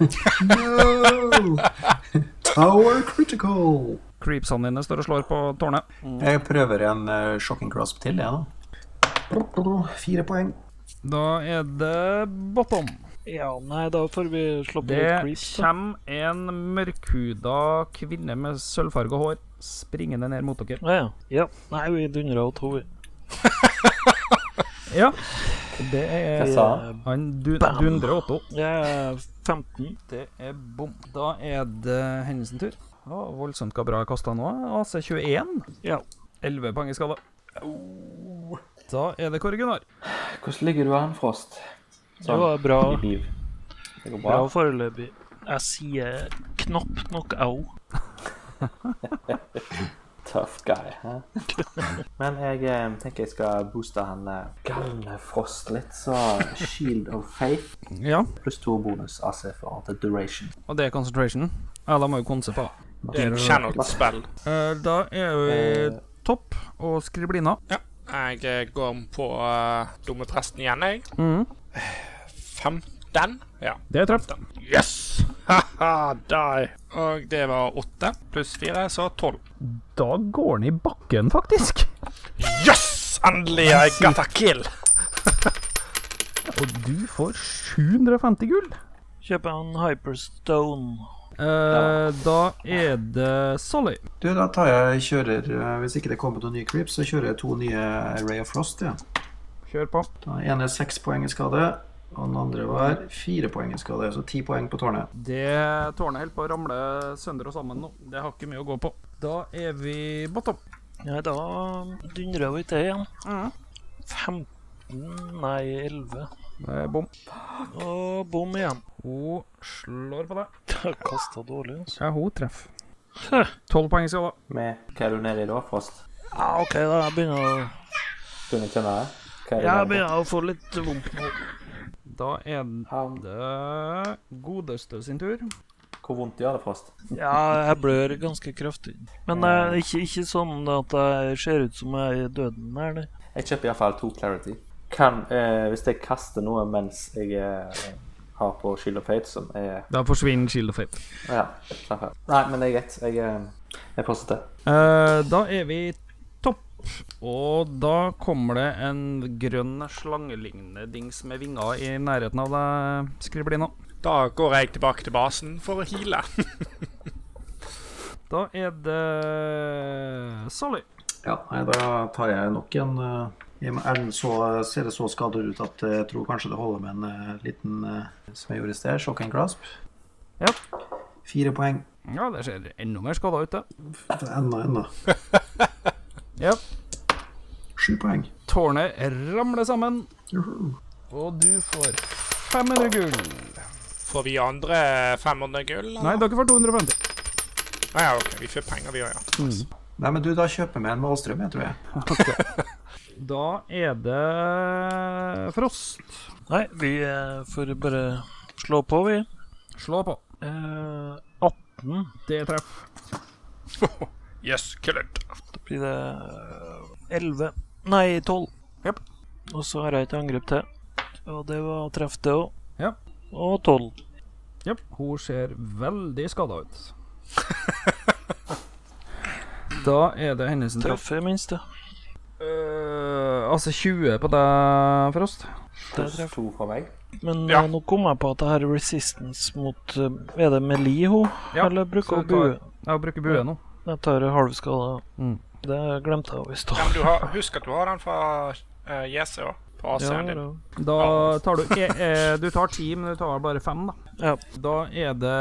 [SPEAKER 5] No! Tower critical.
[SPEAKER 2] Creepsene dine står og slår på tårnet.
[SPEAKER 5] Jeg prøver en eh, shocking grasp til, jeg, da. Fire poeng.
[SPEAKER 2] Da er det bottom.
[SPEAKER 9] Ja, nei, da får vi slå på litt
[SPEAKER 2] Det
[SPEAKER 9] creeps. da.
[SPEAKER 2] kommer en mørkhuda kvinne med sølvfarga hår springende ned mot dere.
[SPEAKER 9] Ja, ja. ja. Nei, vi dundra av to. vi.
[SPEAKER 2] Ja. Det er
[SPEAKER 6] Hva sa han?
[SPEAKER 2] Han dun-
[SPEAKER 9] Bam.
[SPEAKER 2] dundrer Otto.
[SPEAKER 9] Det er 15.
[SPEAKER 2] Det er bom. Da er det hennes tur. Å, voldsomt hva bra jeg kasta nå. AC21.
[SPEAKER 9] Ja.
[SPEAKER 2] 11 poeng i skade. Da er det Kåre Gunnar.
[SPEAKER 6] Hvordan ligger du an, Frost?
[SPEAKER 9] Det var bra,
[SPEAKER 6] I liv. Det går
[SPEAKER 9] bra
[SPEAKER 6] bra.
[SPEAKER 9] foreløpig. Jeg sier knapt nok au.
[SPEAKER 6] Tough guy. hæ? Men jeg eh, tenker jeg skal booste han eh, galne Frost litt, så Shield of Faith
[SPEAKER 2] Ja.
[SPEAKER 6] pluss to bonus AC for the duration.
[SPEAKER 2] Og det er concentration. Ja, da må vi konse på.
[SPEAKER 4] Det er en channeled spell.
[SPEAKER 2] Eh, Da er vi topp og skriblina.
[SPEAKER 4] Jeg eh, går på eh, dumme presten igjen, jeg.
[SPEAKER 2] Mhm.
[SPEAKER 4] 15. Ja.
[SPEAKER 2] Det er treff.
[SPEAKER 4] Yes! Haha, die. Og det var 8 pluss 4, så 12.
[SPEAKER 2] Da går den i bakken, faktisk.
[SPEAKER 4] Yes! Endelig, I got a kill.
[SPEAKER 2] Og du får 750 gull.
[SPEAKER 9] Kjøper en Hyperstone.
[SPEAKER 2] Eh, da er det Solly.
[SPEAKER 5] Du, da tar jeg kjører eh, Hvis ikke det kommer noen nye creeps, så kjører jeg to nye Ray of Frost. Ja.
[SPEAKER 2] Kjør på.
[SPEAKER 5] Den ene er seks poeng i skade, og den andre var fire poeng i skade, så ti poeng på tårnet.
[SPEAKER 2] Det tårnet holder på å ramle sønder og sammen nå. Det har ikke mye å gå på. Da er vi bottom.
[SPEAKER 9] Nei, da dundra vi til igjen. 15 Nei, 11.
[SPEAKER 2] Det er bom.
[SPEAKER 9] Og bom igjen.
[SPEAKER 2] Hun slår på deg.
[SPEAKER 9] Kasta dårlig, altså.
[SPEAKER 2] Ja, hun treffer. Tolv poeng i skala.
[SPEAKER 6] Med, hva er du nede i da, Frost?
[SPEAKER 9] Ja, OK, da. Jeg begynner å,
[SPEAKER 6] Kunne ikke kjenne det? Hva er du
[SPEAKER 9] jeg
[SPEAKER 6] nede i?
[SPEAKER 9] begynner å få litt vondt. nå.
[SPEAKER 2] Da er det godeste sin tur.
[SPEAKER 6] Hvor vondt gjør det, Frost?
[SPEAKER 9] Ja, jeg blør ganske kraftig. Men eh, ikke, ikke sånn at jeg ser ut som jeg er i døden, eller?
[SPEAKER 6] Jeg kjøper iallfall to Clarity. Kan, eh, hvis jeg kaster noe mens jeg eh, har på Shield of Fate, som er
[SPEAKER 2] Da forsvinner Shield of Fate.
[SPEAKER 6] Ja. slapp av. Nei, men det er greit. Jeg, eh, jeg fortsetter.
[SPEAKER 2] Eh, da er vi topp. Og da kommer det en grønn slangelignende dings med vinger i nærheten av deg, Skriblina.
[SPEAKER 4] Da går jeg tilbake til basen for å heale.
[SPEAKER 2] Da er det Solly.
[SPEAKER 5] Ja, nei, da tar jeg nok en eh, i og med Ellen så, ser det så skadet ut at eh, jeg tror kanskje det holder med en eh, liten eh, som jeg gjorde i sted, shock and grasp.
[SPEAKER 2] Ja.
[SPEAKER 5] Fire poeng.
[SPEAKER 2] Ja, det ser enda mer skader ut, det.
[SPEAKER 5] Enda, enda.
[SPEAKER 2] Ja.
[SPEAKER 5] Sju poeng.
[SPEAKER 2] Tårnet ramler sammen, og du får 500 gull.
[SPEAKER 4] Får vi andre 500 gull? eller?
[SPEAKER 2] Nei, dere får 250.
[SPEAKER 4] Ah, ja, ok, vi får penger, vi òg, ja.
[SPEAKER 5] Nei, men du, da kjøper vi en Malstrøm, jeg tror jeg.
[SPEAKER 2] Da er det Frost.
[SPEAKER 9] Nei, vi eh, får bare slå på, vi.
[SPEAKER 2] Slå på.
[SPEAKER 9] Eh, 18.
[SPEAKER 2] Det treffer.
[SPEAKER 4] Yes, killed.
[SPEAKER 9] Da blir det eh, 11. Nei, 12. Og så har jeg et angrep til. Og det var treff, det òg.
[SPEAKER 2] Ja.
[SPEAKER 9] Og tolv.
[SPEAKER 2] Jepp. Hun ser veldig skada ut. da er det hennes
[SPEAKER 9] Treff i minste.
[SPEAKER 2] Øh, altså 20 på deg, Frost.
[SPEAKER 9] Det treffer.
[SPEAKER 6] To fra meg.
[SPEAKER 9] Men eh, nå kom jeg på at det her er resistance mot eh, Er det Meli hun?
[SPEAKER 2] Ja,
[SPEAKER 9] Eller bruker
[SPEAKER 2] så
[SPEAKER 9] hun
[SPEAKER 2] du tar-
[SPEAKER 9] bue?
[SPEAKER 2] Jeg bruker bue nå.
[SPEAKER 9] Jeg tar halv skade.
[SPEAKER 2] Mm.
[SPEAKER 9] Det glemte jeg i
[SPEAKER 4] Ja,
[SPEAKER 9] stad.
[SPEAKER 4] men du har, husk at du har den fra uh, JC òg, på
[SPEAKER 9] Ja,
[SPEAKER 4] AC-en din.
[SPEAKER 9] da.
[SPEAKER 2] Da tar du e eh, Du tar ti, men du tar bare fem, da. Da er det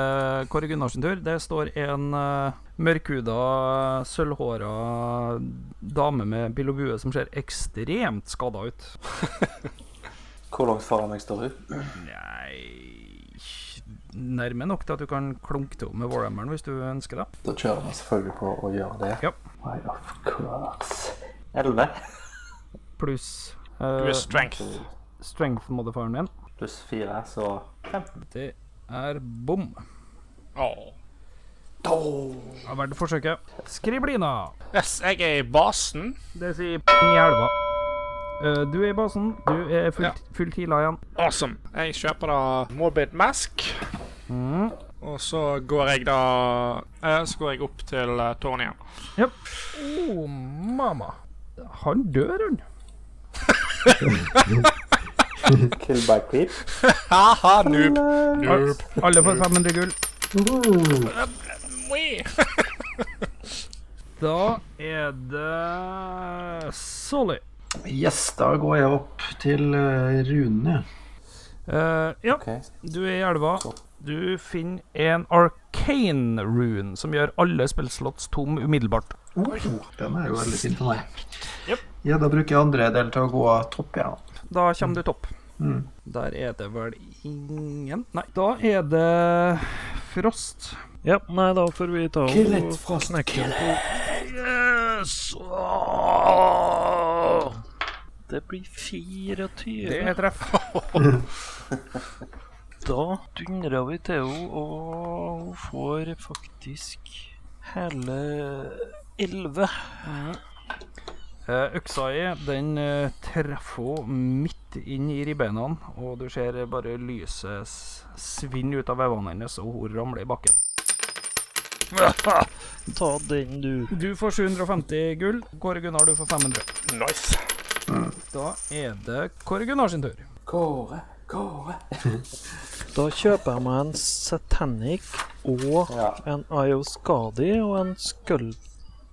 [SPEAKER 2] Kåre Gunnarsen tur. Det står en eh, mørkhuda, sølvhåra dame med bill og bue som ser ekstremt skada ut.
[SPEAKER 6] Hvor langt foran meg står hun?
[SPEAKER 2] Nei Nærme nok til at du kan klunke til henne med Warhammeren hvis du ønsker det.
[SPEAKER 6] Da kjører vi selvfølgelig på å gjøre det.
[SPEAKER 2] Ja.
[SPEAKER 6] Why, of course. Elleve
[SPEAKER 2] Pluss eh,
[SPEAKER 4] Du er strength.
[SPEAKER 2] Strength-modifieren min.
[SPEAKER 6] pluss fire, så
[SPEAKER 2] Det er bom.
[SPEAKER 4] Åh.
[SPEAKER 2] Det er verdt forsøket. Skriblina.
[SPEAKER 4] Yes, jeg er i basen.
[SPEAKER 2] Det sier ping i elva. Eh, Du er i basen. Du er fullt, fullt heala igjen.
[SPEAKER 4] Awesome. Jeg kjøper da Morbid Mask.
[SPEAKER 2] Mm.
[SPEAKER 4] Og så går jeg da eh, Så går jeg opp til eh, tårnet igjen.
[SPEAKER 2] Oh, mamma. Han dør, han.
[SPEAKER 6] Kill by creep.
[SPEAKER 4] Ha-ha, Ah, noob. Noob.
[SPEAKER 2] Alle får 500 gull.
[SPEAKER 4] Oi.
[SPEAKER 2] Da er det Solly.
[SPEAKER 5] Yes, da går jeg opp til eh, runene.
[SPEAKER 2] Eh, ja, du er i elva. Du finner en arcane rune som gjør alle spillslotts tom umiddelbart.
[SPEAKER 5] Den er jo veldig fin for meg. Ja, da bruker jeg andre del til å gå topp, ja.
[SPEAKER 2] Da kommer du topp.
[SPEAKER 5] Mm.
[SPEAKER 2] Der er det vel ingen Nei, da er det Frost.
[SPEAKER 9] Ja, nei, da får vi ta
[SPEAKER 5] Kill it, Frost,
[SPEAKER 9] knekke
[SPEAKER 5] kill
[SPEAKER 9] den.
[SPEAKER 2] Yes!
[SPEAKER 9] Det blir 24.
[SPEAKER 2] Det er treff.
[SPEAKER 9] Da dundrer vi til henne, og hun får faktisk hele 11.
[SPEAKER 6] Mm.
[SPEAKER 2] Eh, Øksa i, den eh, treffer henne midt inn i ribbeina, og du ser bare lyset s- svinne ut av vevene hennes, og hun ramler i bakken.
[SPEAKER 9] Ta den, du.
[SPEAKER 2] Du får 750 gull. Kåre Gunnar, du får 500.
[SPEAKER 4] Nice.
[SPEAKER 2] Da er det Kåre Gunnar sin tur.
[SPEAKER 6] Kåre, Kåre.
[SPEAKER 9] Da kjøper jeg meg en Satanic og
[SPEAKER 6] Ja.
[SPEAKER 9] en Ioskadi og en Skull...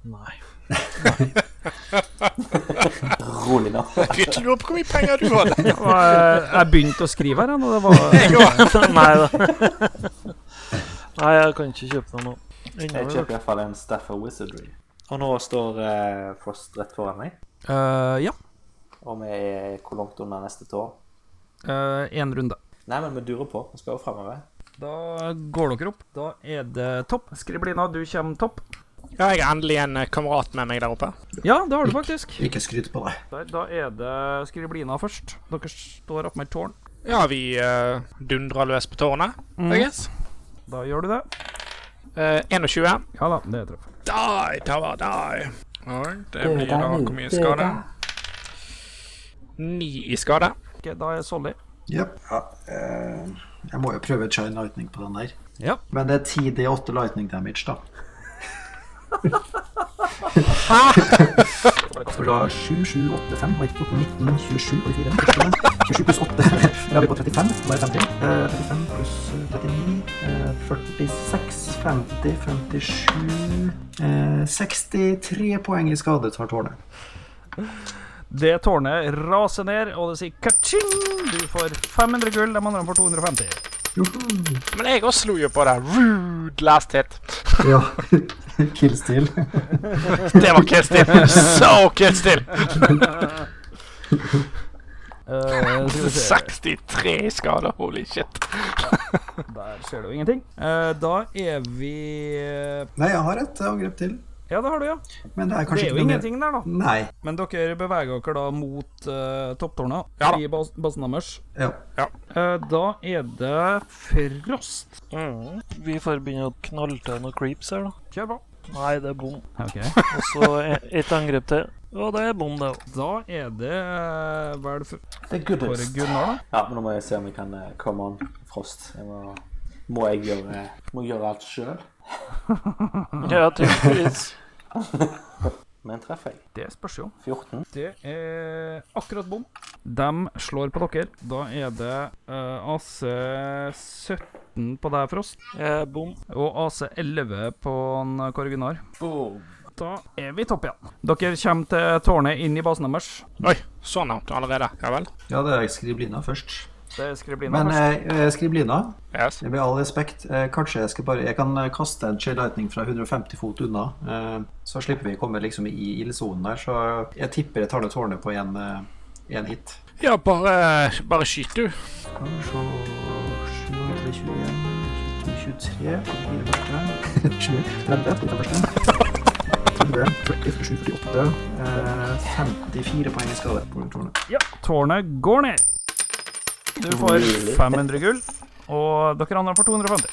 [SPEAKER 9] Nei.
[SPEAKER 6] Rolig nå.
[SPEAKER 4] Fikk du opp hvor mye penger du hadde?
[SPEAKER 2] Og jeg, eh, jeg begynte å skrive her, jeg, og det var
[SPEAKER 4] Jeg òg.
[SPEAKER 9] Nei da. Nei, jeg kan ikke kjøpe meg noe. Ennå,
[SPEAKER 6] Jeg
[SPEAKER 9] i hvert
[SPEAKER 6] kjøper iallfall en Staff of Wizardry. Og nå står eh, Frost rett foran meg,
[SPEAKER 2] Eh, Ja.
[SPEAKER 6] og vi er hvor langt under neste tårn?
[SPEAKER 2] Én eh, runde.
[SPEAKER 6] Nei, men vi durer på. Vi skal jo framover.
[SPEAKER 2] Da går dere opp. Da er det topp. Skriblina, du kommer topp.
[SPEAKER 4] Ja, jeg har endelig en eh, kamerat med meg der oppe.
[SPEAKER 2] Ja, det har du faktisk.
[SPEAKER 5] Ikke skryt på deg.
[SPEAKER 2] Der, da er det Skriblina først. Dere står opp med et tårn.
[SPEAKER 4] Ja, vi eh, dundrer løs på tårnet, I guess.
[SPEAKER 2] Da gjør du det.
[SPEAKER 4] Mm. Eh, 21.
[SPEAKER 2] Ja da, det treffer.
[SPEAKER 4] Die, tower, die. Alright, det blir da hvor mye skade? Ni i skade.
[SPEAKER 2] Ok, da er Solly.
[SPEAKER 5] Jep. Ja, eh, jeg må jo prøve et shine lightning på den der.
[SPEAKER 2] Ja.
[SPEAKER 5] Men det er 10D8 lightning damage, da. For da 7, 7, 8, 5, 19, 27 og 24. 27 pluss 8. Da er vi på 35. Da er det 50. Eh, 35 pluss eh, 39. eh, 46, 50, 57 eh, 63 poeng i skade tar tårnet.
[SPEAKER 2] Det tårnet raser ned, og det sier ka-ching! Du får 500 gull, de andre får 250.
[SPEAKER 4] Men jeg også slo jo på det. Rude last hit.
[SPEAKER 5] Ja. Killstil.
[SPEAKER 4] Det var kill still. So kill still.
[SPEAKER 2] Eh, skal vi se.
[SPEAKER 4] 63 i skade. Holy shit.
[SPEAKER 2] Der ser du ingenting. Eh, da er vi
[SPEAKER 5] Nei, jeg har et angrep til.
[SPEAKER 2] Ja, det har du, ja.
[SPEAKER 5] Men det er
[SPEAKER 2] Det
[SPEAKER 5] kanskje
[SPEAKER 2] er jo
[SPEAKER 5] ikke noe mer-
[SPEAKER 2] ingenting der, da.
[SPEAKER 5] Nei.
[SPEAKER 2] Men dere beveger dere da mot eh, topptårnet
[SPEAKER 4] Ja da.
[SPEAKER 2] i bas basen deres.
[SPEAKER 5] Ja.
[SPEAKER 2] Eh, da er det Frost.
[SPEAKER 9] fall. Mm. Vi får begynne å knalle til noen creeps her, da.
[SPEAKER 2] Kjør på.
[SPEAKER 9] Nei, det er bom.
[SPEAKER 2] Ok.
[SPEAKER 9] Og så e- et angrep til. Og det er bom, det òg.
[SPEAKER 2] Da er det eh, vel for,
[SPEAKER 6] Det er good
[SPEAKER 2] for Gunnar, da.
[SPEAKER 6] Ja, men nå må jeg se om jeg kan eh, komme an frost. Jeg må, må jeg gjøre, eh, må jeg gjøre alt sjøl? Mm.
[SPEAKER 9] Ja, tydeligvis.
[SPEAKER 6] Men treffer jeg.
[SPEAKER 2] Det spørs jo.
[SPEAKER 6] 14.
[SPEAKER 2] Det er akkurat bom. De slår på dere. Da er det eh, AC 17 på deg, Frost,
[SPEAKER 9] Eh, bom.
[SPEAKER 2] og AC 11 på en Kåre Gunnar.
[SPEAKER 6] Boom.
[SPEAKER 2] Da er vi i topp igjen. Dere kommer til tårnet inn i basen deres.
[SPEAKER 4] Oi, så navn allerede. Sånn, Ja vel.
[SPEAKER 5] Ja, det er skriblina først.
[SPEAKER 2] Det er skriblina
[SPEAKER 5] Men
[SPEAKER 2] først.
[SPEAKER 5] eh, skriblina,
[SPEAKER 4] Yes.
[SPEAKER 5] med all respekt, eh, kanskje jeg skal bare Jeg kan eh, kaste en Shade Lightning fra 150 fot unna, eh, så slipper vi å komme liksom i ildsonen der. Så jeg tipper jeg tar det tårnet på én hit.
[SPEAKER 4] Ja, bare, bare skyt, du.
[SPEAKER 5] Skal vi se 7, 21, 22, 23, 24, 30 på den første. 30, 40, 47, 48 eh, 54 poeng i skade på tårnet.
[SPEAKER 2] Ja, tårnet går ned. Du får 500 gull, og dere andre får 250.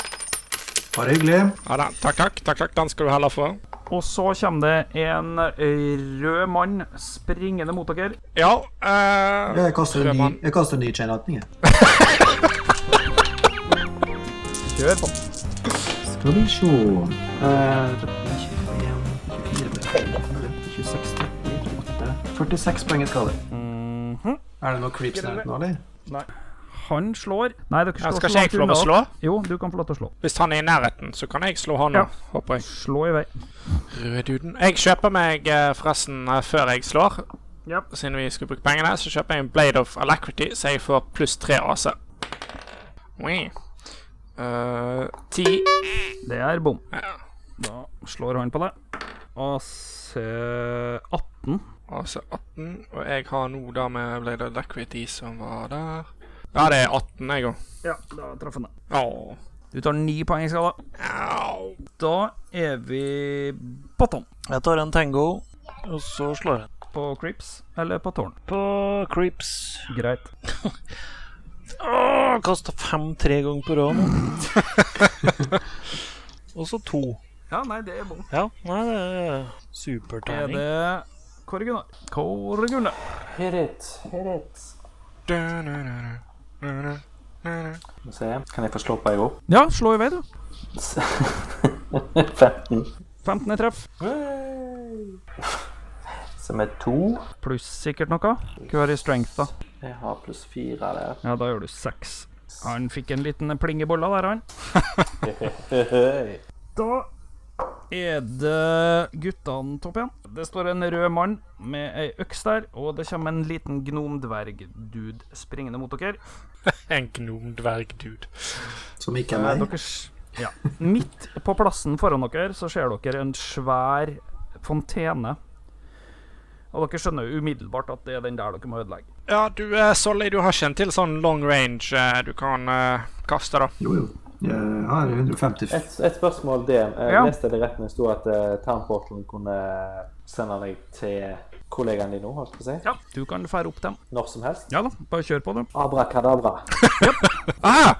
[SPEAKER 5] Bare hyggelig.
[SPEAKER 4] Ja da. Takk, takk. takk, takk. Den skal du heller få.
[SPEAKER 2] Og så kommer det en rød mann springende mot dere.
[SPEAKER 4] Ja eh,
[SPEAKER 5] Jeg kaster en ny,
[SPEAKER 4] Rødmann.
[SPEAKER 5] jeg kaster en ny chain lightning, jeg.
[SPEAKER 2] Kjør på.
[SPEAKER 5] Skal vi se Eh, 21, 24, 26, 38 46 poeng i skade. Er det noe creeps i nærheten nå, eller?
[SPEAKER 2] Han slår. Nei, dere
[SPEAKER 4] Ja,
[SPEAKER 2] slår
[SPEAKER 4] skal
[SPEAKER 2] så langt
[SPEAKER 4] ikke jeg få lov å
[SPEAKER 2] unna.
[SPEAKER 4] slå?
[SPEAKER 2] Jo, du kan få lov til å slå.
[SPEAKER 4] Hvis han er i nærheten, så kan jeg slå han
[SPEAKER 2] Ja.
[SPEAKER 4] òg, håper jeg.
[SPEAKER 2] Slå i vei.
[SPEAKER 4] Rødhuden. Jeg kjøper meg eh, forresten eh, før jeg slår.
[SPEAKER 2] Ja.
[SPEAKER 4] Siden vi skulle bruke pengene, så kjøper jeg en Blade of Alacrity, så jeg får pluss tre AC. Oi. Eh, Ti
[SPEAKER 2] Det er bom.
[SPEAKER 4] Ja.
[SPEAKER 2] Da slår han på deg. eh, AC 18.
[SPEAKER 4] AC 18, Altså, og jeg har nå da med Blade of Alacrity som var der Ja, det er 18, jeg òg.
[SPEAKER 2] Ja, da traff han deg.
[SPEAKER 4] Au.
[SPEAKER 2] Du tar ni poeng i skade.
[SPEAKER 4] Au.
[SPEAKER 2] Da er vi bottom
[SPEAKER 9] Jeg tar en tango, og så slår jeg.
[SPEAKER 2] på creeps eller på tårn.
[SPEAKER 9] På creeps.
[SPEAKER 2] Greit.
[SPEAKER 9] Åh, Kasta fem-tre ganger på rad nå. og så to.
[SPEAKER 2] Ja, nei, det er bom.
[SPEAKER 9] Ja, nei, det er
[SPEAKER 2] Er
[SPEAKER 9] superterning.
[SPEAKER 2] det Kåre Gunnar? Kåre Gunnar.
[SPEAKER 6] Hit it, hit it.
[SPEAKER 4] Da-na-na-na, na-na, na-na.
[SPEAKER 6] Skal vi se. Kan jeg få slå på jeg òg?
[SPEAKER 2] Ja, slå i vei, du.
[SPEAKER 6] 15.
[SPEAKER 2] 15 i treff.
[SPEAKER 6] Som er to.
[SPEAKER 2] Pluss sikkert noe. Hva er i strength, da?
[SPEAKER 6] Jeg har pluss fire der.
[SPEAKER 2] Ja, da gjør du seks. Han fikk en liten pling i bolla der, han. Da er det guttene topp igjen. Det står en rød mann med ei øks der, og det kommer en liten gnomdverg-dude springende mot dere.
[SPEAKER 4] En gnomdverg-dude.
[SPEAKER 5] Som ikke
[SPEAKER 2] Eh,
[SPEAKER 5] er meg.
[SPEAKER 2] dere s- ja. Midt på plassen foran dere så ser dere en svær fontene. Og dere skjønner jo umiddelbart at det er den der dere må ødelegge.
[SPEAKER 4] Ja, du, eh, Solly, du har ikke en til sånn long range eh, du kan eh, kaste, da.
[SPEAKER 5] Jo, jo. Jeg har 150
[SPEAKER 6] Et, et spørsmål, DM. Jeg
[SPEAKER 2] Ja.
[SPEAKER 6] leste det rett når det sto at uh, Townportalen kunne eh, sende deg til kollegaen din nå, holdt jeg på å si.
[SPEAKER 2] Ja, du kan fære opp dem.
[SPEAKER 6] Når som helst.
[SPEAKER 2] Ja da, bare kjør på, du.
[SPEAKER 6] Abrakadabra.
[SPEAKER 4] Ah!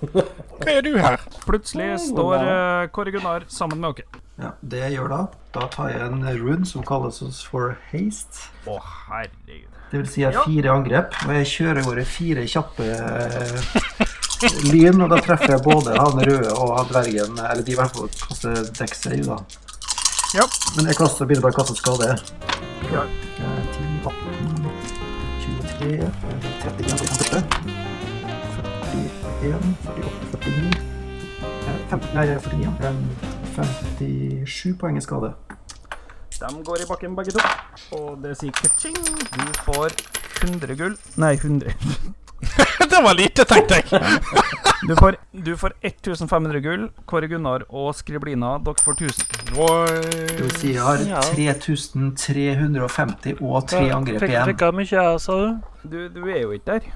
[SPEAKER 4] Hva er du her?
[SPEAKER 2] Plutselig står eh, Kåre Gunnar sammen med dere.
[SPEAKER 5] Ja, det jeg gjør da, da tar jeg en rune som kalles oss for haste.
[SPEAKER 2] Å, herregud.
[SPEAKER 5] Det vil si jeg har fire angrep, og jeg kjører over fire kjappe eh, lyn, og da treffer jeg både han røde og han dvergen, eller de i hvert fall kaster dekkseiv, da.
[SPEAKER 2] Ja.
[SPEAKER 5] Men jeg kaster, begynner bare å kaste skade.
[SPEAKER 2] Ja.
[SPEAKER 5] Eh, 10, 18, 23, eh, 31, 38, 41, 48, 49, eh, 15, nei, 49, ja. Eh, 57 poeng i skade.
[SPEAKER 2] De går i bakken begge to. Og det sier ka-ching. Du får 100 gull. Nei, 100.
[SPEAKER 4] det var lite, tenkte jeg.
[SPEAKER 2] Du får, du får 1500 gull. Kåre Gunnar og Skriblina, dere får 1000.
[SPEAKER 5] Det vil
[SPEAKER 4] Oi.
[SPEAKER 5] si jeg
[SPEAKER 9] Ja.
[SPEAKER 5] har 3350 og tre angrep
[SPEAKER 9] Fikk-
[SPEAKER 5] igjen.
[SPEAKER 9] Fikk jeg mye, jeg, sa du?
[SPEAKER 2] Du, du er jo ikke der.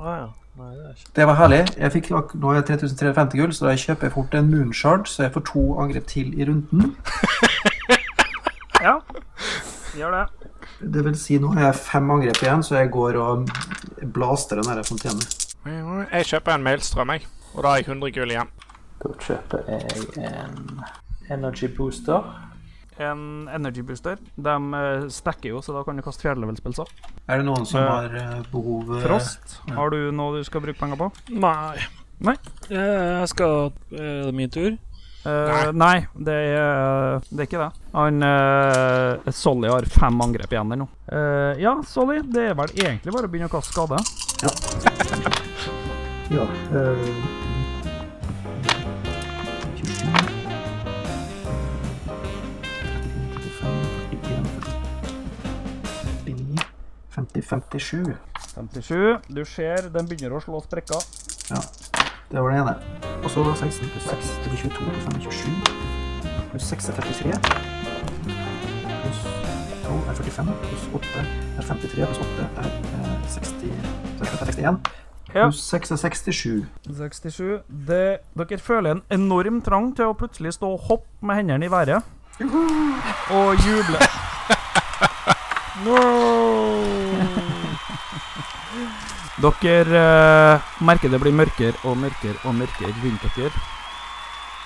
[SPEAKER 9] Å ja. Nei, det er ikke
[SPEAKER 5] Det var herlig. Jeg fikk, ak- nå har jeg 3350 gull, så da kjøper jeg fort en moonshard, så jeg får to angrep til i runden.
[SPEAKER 2] Ja. Gjør det.
[SPEAKER 5] Det vil si nå har jeg fem angrep igjen, så jeg går og blaster den her fontenen.
[SPEAKER 4] Jeg kjøper en mailstrøm, jeg. Og da har jeg 100 gull igjen.
[SPEAKER 6] Da kjøper jeg en energy booster.
[SPEAKER 1] en energy booster. De eh, stacker jo, så da kan du kaste fjerdelevelsspilser.
[SPEAKER 5] Er det noen som
[SPEAKER 1] Eh,
[SPEAKER 5] har eh, behov eh,
[SPEAKER 1] Frost,
[SPEAKER 5] ja.
[SPEAKER 1] har du noe du skal bruke penger på?
[SPEAKER 9] Nei. Eh,
[SPEAKER 1] Nei?
[SPEAKER 9] Jeg skal Er det min tur?
[SPEAKER 1] Eh, nei, det er, det er ikke det. Han eh, Solly har fem angrep igjen der nå. Eh, ja, Solly, det er vel egentlig bare å begynne å kaste skade.
[SPEAKER 13] Ja. eh,
[SPEAKER 5] i 50-57?
[SPEAKER 1] 57. Du ser den begynner å slå sprekker.
[SPEAKER 5] Ja, det var det ene. Og så 16 pluss 6 til 22 pluss 5 27. Pluss 6 er 33. Pluss 12 er 45. Pluss 8 er 53. Pluss 8 er eh, 60, så er det 61. Pluss 6 er 67.
[SPEAKER 1] 67. Det, dere føler en enorm trang til å plutselig stå og hoppe med hendene i været og juble. Dere eh, merker det blir mørkere og mørkere og mørkere rundt dere.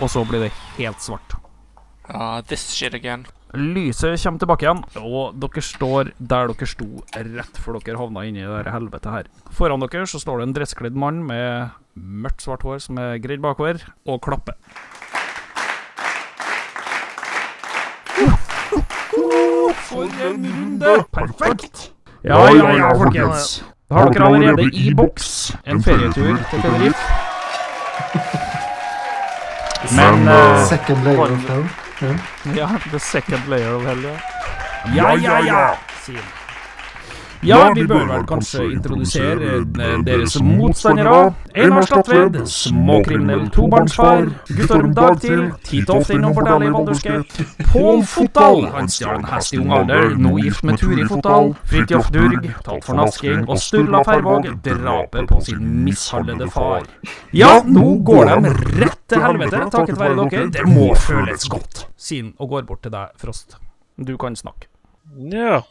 [SPEAKER 1] Og så blir det helt svart.
[SPEAKER 4] Ah, this shit again.
[SPEAKER 1] Lyset kommer tilbake igjen, og dere står der dere sto rett før dere havna inni det der helvete her. Foran dere så står det en dresskledd mann med mørkt svart hår som er gredd bakover, og klapper. For en runde! Perfekt! Ja, ja, ja, folkens. Da har dere allerede i boks en ferietur til Tenerife. Men eh,
[SPEAKER 5] Second layer
[SPEAKER 1] form-
[SPEAKER 5] of hell. Ja.
[SPEAKER 1] Ja, the second layer of hell, eh, ja.
[SPEAKER 8] Ja, ja, ja,
[SPEAKER 1] sier han. Ja, vi bør vel kanskje introdusere eh, deres motstandere. Einar Statved, småkriminell tobarnsfar. Guttorm Dagtil, titt og ofte innom bordellet i Balderskate. Pål Fotdal, han stjal en hest i ung alder, nå gift med Turi Fotdal. Fridtjof Durg, tatt for nasking, og Sturla Færvåg, drapet på sin mishandlede far. Ja, nå går de rett til helvete, takket være dere. Det må føles godt. Sier han og går bort til deg, Frost. Du kan snakke.
[SPEAKER 9] Ja.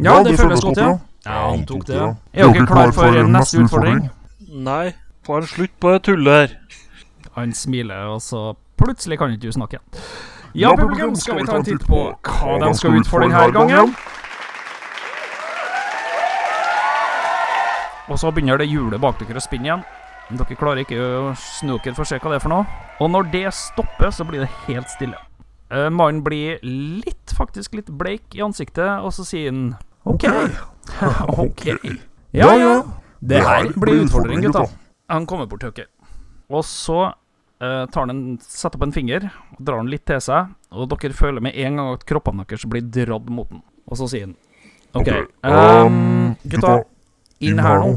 [SPEAKER 1] Ja, det føles godt, ja. Ja, han tok det. Er dere klar for neste utfordring?
[SPEAKER 9] Nei. Bare slutt på det tullet her.
[SPEAKER 1] Han smiler, og så plutselig kan ikke du snakke igjen. Ja, publikum, skal vi ta en titt på hva de skal ut for denne gangen? Og så begynner det hjulet bak dere å spinne igjen. Men Dere klarer ikke å snu dere for å se hva det er for noe. Og når det stopper, så blir det helt stille. Eh, Mannen blir litt, faktisk litt bleik i ansiktet, og så sier han OK. OK. Ja, ja. Det her blir utfordring, gutta. Han kommer bort til dere. Og så eh, tar han en, setter opp en finger og drar den litt til seg. Og dere føler med en gang at kroppene deres blir dratt mot den. Og så sier han OK,
[SPEAKER 8] Ok,
[SPEAKER 1] ehm,
[SPEAKER 8] ehm,
[SPEAKER 1] gutta,
[SPEAKER 8] gutta,
[SPEAKER 1] inn her nå.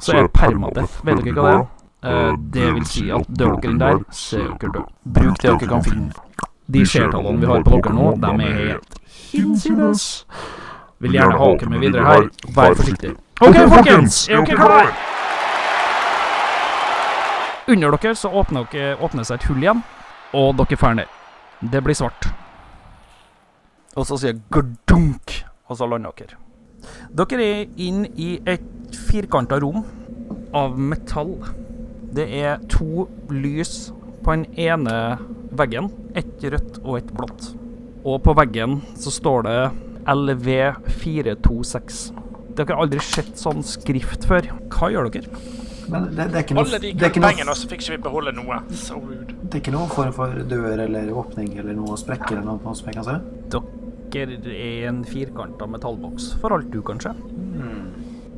[SPEAKER 1] Så er det permadeath. Vet dere hva det er? Eh, det vil si at dør dere inn der, så er dere døde. Bruk det dere kan finne. De seertallene vi har på dere nå, de er helt hinsides. Vil gjerne ha dere med videre her. Vær forsiktig. OK, folkens, er dere klare? Under dere så åpner, dere, åpner seg et hull igjen, og dere drar ned. Det blir svart. Og så sier jeg gardunk, og så lander dere. Dere er inn i et firkanta rom av metall. Det er to lys på den ene veggen. Ett rødt og ett blått. Og på veggen så står det LV426. Dere har aldri sett sånn skrift før. Hva gjør dere?
[SPEAKER 5] Men det, det er ikke noe,
[SPEAKER 4] Alle de
[SPEAKER 5] det er ikke noe
[SPEAKER 4] pengene, og så fikk ikke vi beholde noe. So rude.
[SPEAKER 5] Det er ikke noen form for dør eller åpning eller noe sprekker eller noe som jeg kan se?
[SPEAKER 1] Dere er en firkanta metallboks, for alt du kan se.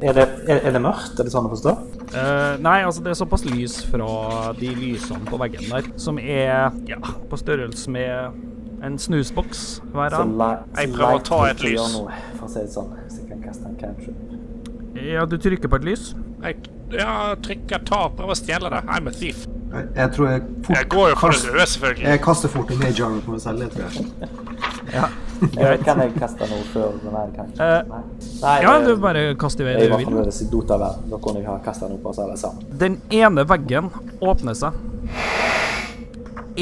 [SPEAKER 6] Er det, er, er det mørkt? Er det sånn å forstå?
[SPEAKER 1] Eh, nei, altså det er såpass lys fra de lysene på veggen der, som er ja, på størrelse med en snusboks hver
[SPEAKER 6] Så
[SPEAKER 1] av.
[SPEAKER 6] la- så
[SPEAKER 1] Jeg
[SPEAKER 6] la- ikke gjør noe, For å si det sånn. Så jeg kan kaste en cantrip.
[SPEAKER 1] Ja, du trykker på et lys.
[SPEAKER 4] Jeg ja, trykker ta og prøver å stjele det. I'm a thief.
[SPEAKER 5] Jeg, jeg tror jeg fort
[SPEAKER 4] Jeg går jo for det
[SPEAKER 5] kast-
[SPEAKER 4] røde, selvfølgelig.
[SPEAKER 5] Jeg kaster fort en mage armor på meg selv, det tror jeg.
[SPEAKER 1] Ja.
[SPEAKER 6] Jeg, kan jeg kaste noe før den her, kanskje?
[SPEAKER 1] Eh,
[SPEAKER 6] Nei,
[SPEAKER 1] ja,
[SPEAKER 6] jeg-
[SPEAKER 1] du bare kast i vei
[SPEAKER 6] Jeg
[SPEAKER 1] det
[SPEAKER 6] var
[SPEAKER 1] du vil.
[SPEAKER 6] fremdeles i Dota-verden. Da kunne jeg ha kastet noe på oss alle sammen.
[SPEAKER 1] Den ene veggen åpner seg.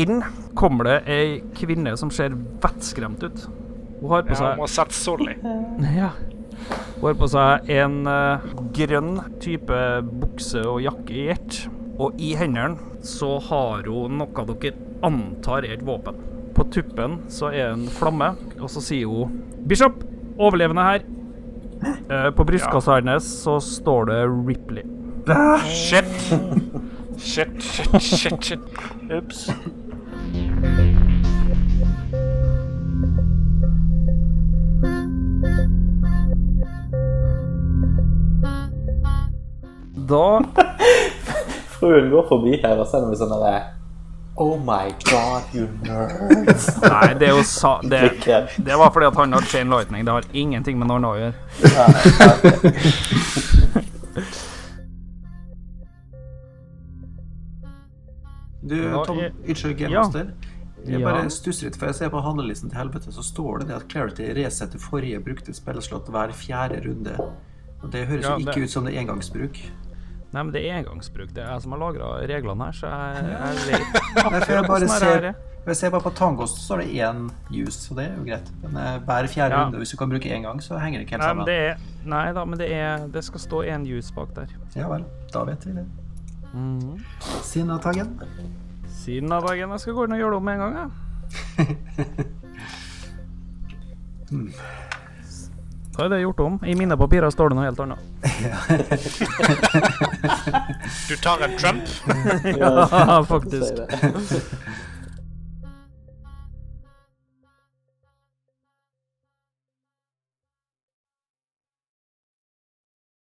[SPEAKER 1] Inn kommer det ei kvinne som ser vettskremt ut. Hun har på
[SPEAKER 4] Ja,
[SPEAKER 1] seg
[SPEAKER 4] må sette Solly.
[SPEAKER 1] Ja. Hun har på seg en eh, grønn type bukse og jakke i ett. Og i hendene så har hun noe dere antar er et våpen.
[SPEAKER 2] på tuppen så er en flamme, og så sier hun Bishop, overlevende her. Eh, på brystkassa hennes så står det Ripley.
[SPEAKER 4] Ah, shit. Shit, shit, shit, shit. Ups.
[SPEAKER 2] Da
[SPEAKER 6] Fruen går forbi her og sender meg sånn derre Oh my god, you nerds.
[SPEAKER 2] Nei, det er jo sa... Det, det var fordi at han har chain lightning. Det har ingenting med Narna å gjøre.
[SPEAKER 5] Du,
[SPEAKER 2] Ja,
[SPEAKER 5] Tom,
[SPEAKER 2] jeg- ja.
[SPEAKER 5] unnskyld, Gamemaster. Jeg
[SPEAKER 2] Ja.
[SPEAKER 5] bare stusser litt, for jeg ser på handlelisten til helvete, så står det det at Clarity resetter forrige brukte spillslott hver fjerde runde. Og Det høres
[SPEAKER 2] Ja,
[SPEAKER 5] jo
[SPEAKER 2] det-
[SPEAKER 5] ikke ut som det er engangsbruk.
[SPEAKER 2] Nei, men det er engangsbruk. Det er jeg som har lagra reglene her, så jeg, jeg vet
[SPEAKER 5] Nei, for jeg
[SPEAKER 2] akkurat
[SPEAKER 5] bare
[SPEAKER 2] hvordan det her
[SPEAKER 5] ser,
[SPEAKER 2] er.
[SPEAKER 5] jeg ser bare på Tangos, så står det én use, så det er jo greit. Men eh, hver fjerde
[SPEAKER 2] Ja.
[SPEAKER 5] runde, hvis du kan bruke én gang, så henger det ikke helt
[SPEAKER 2] Nei, men
[SPEAKER 5] sammen.
[SPEAKER 2] det er, nei da, men det, er, det skal stå én juice bak der.
[SPEAKER 5] Ja vel, da vet vi det. Sinnataggen.
[SPEAKER 2] Siden av dagen jeg skal gå inn og gjøre det om med en gang, jeg. Mm. Da er det gjort om. I mine papirer står det noe helt annet.
[SPEAKER 4] Du tar en Trump?
[SPEAKER 2] ja, faktisk.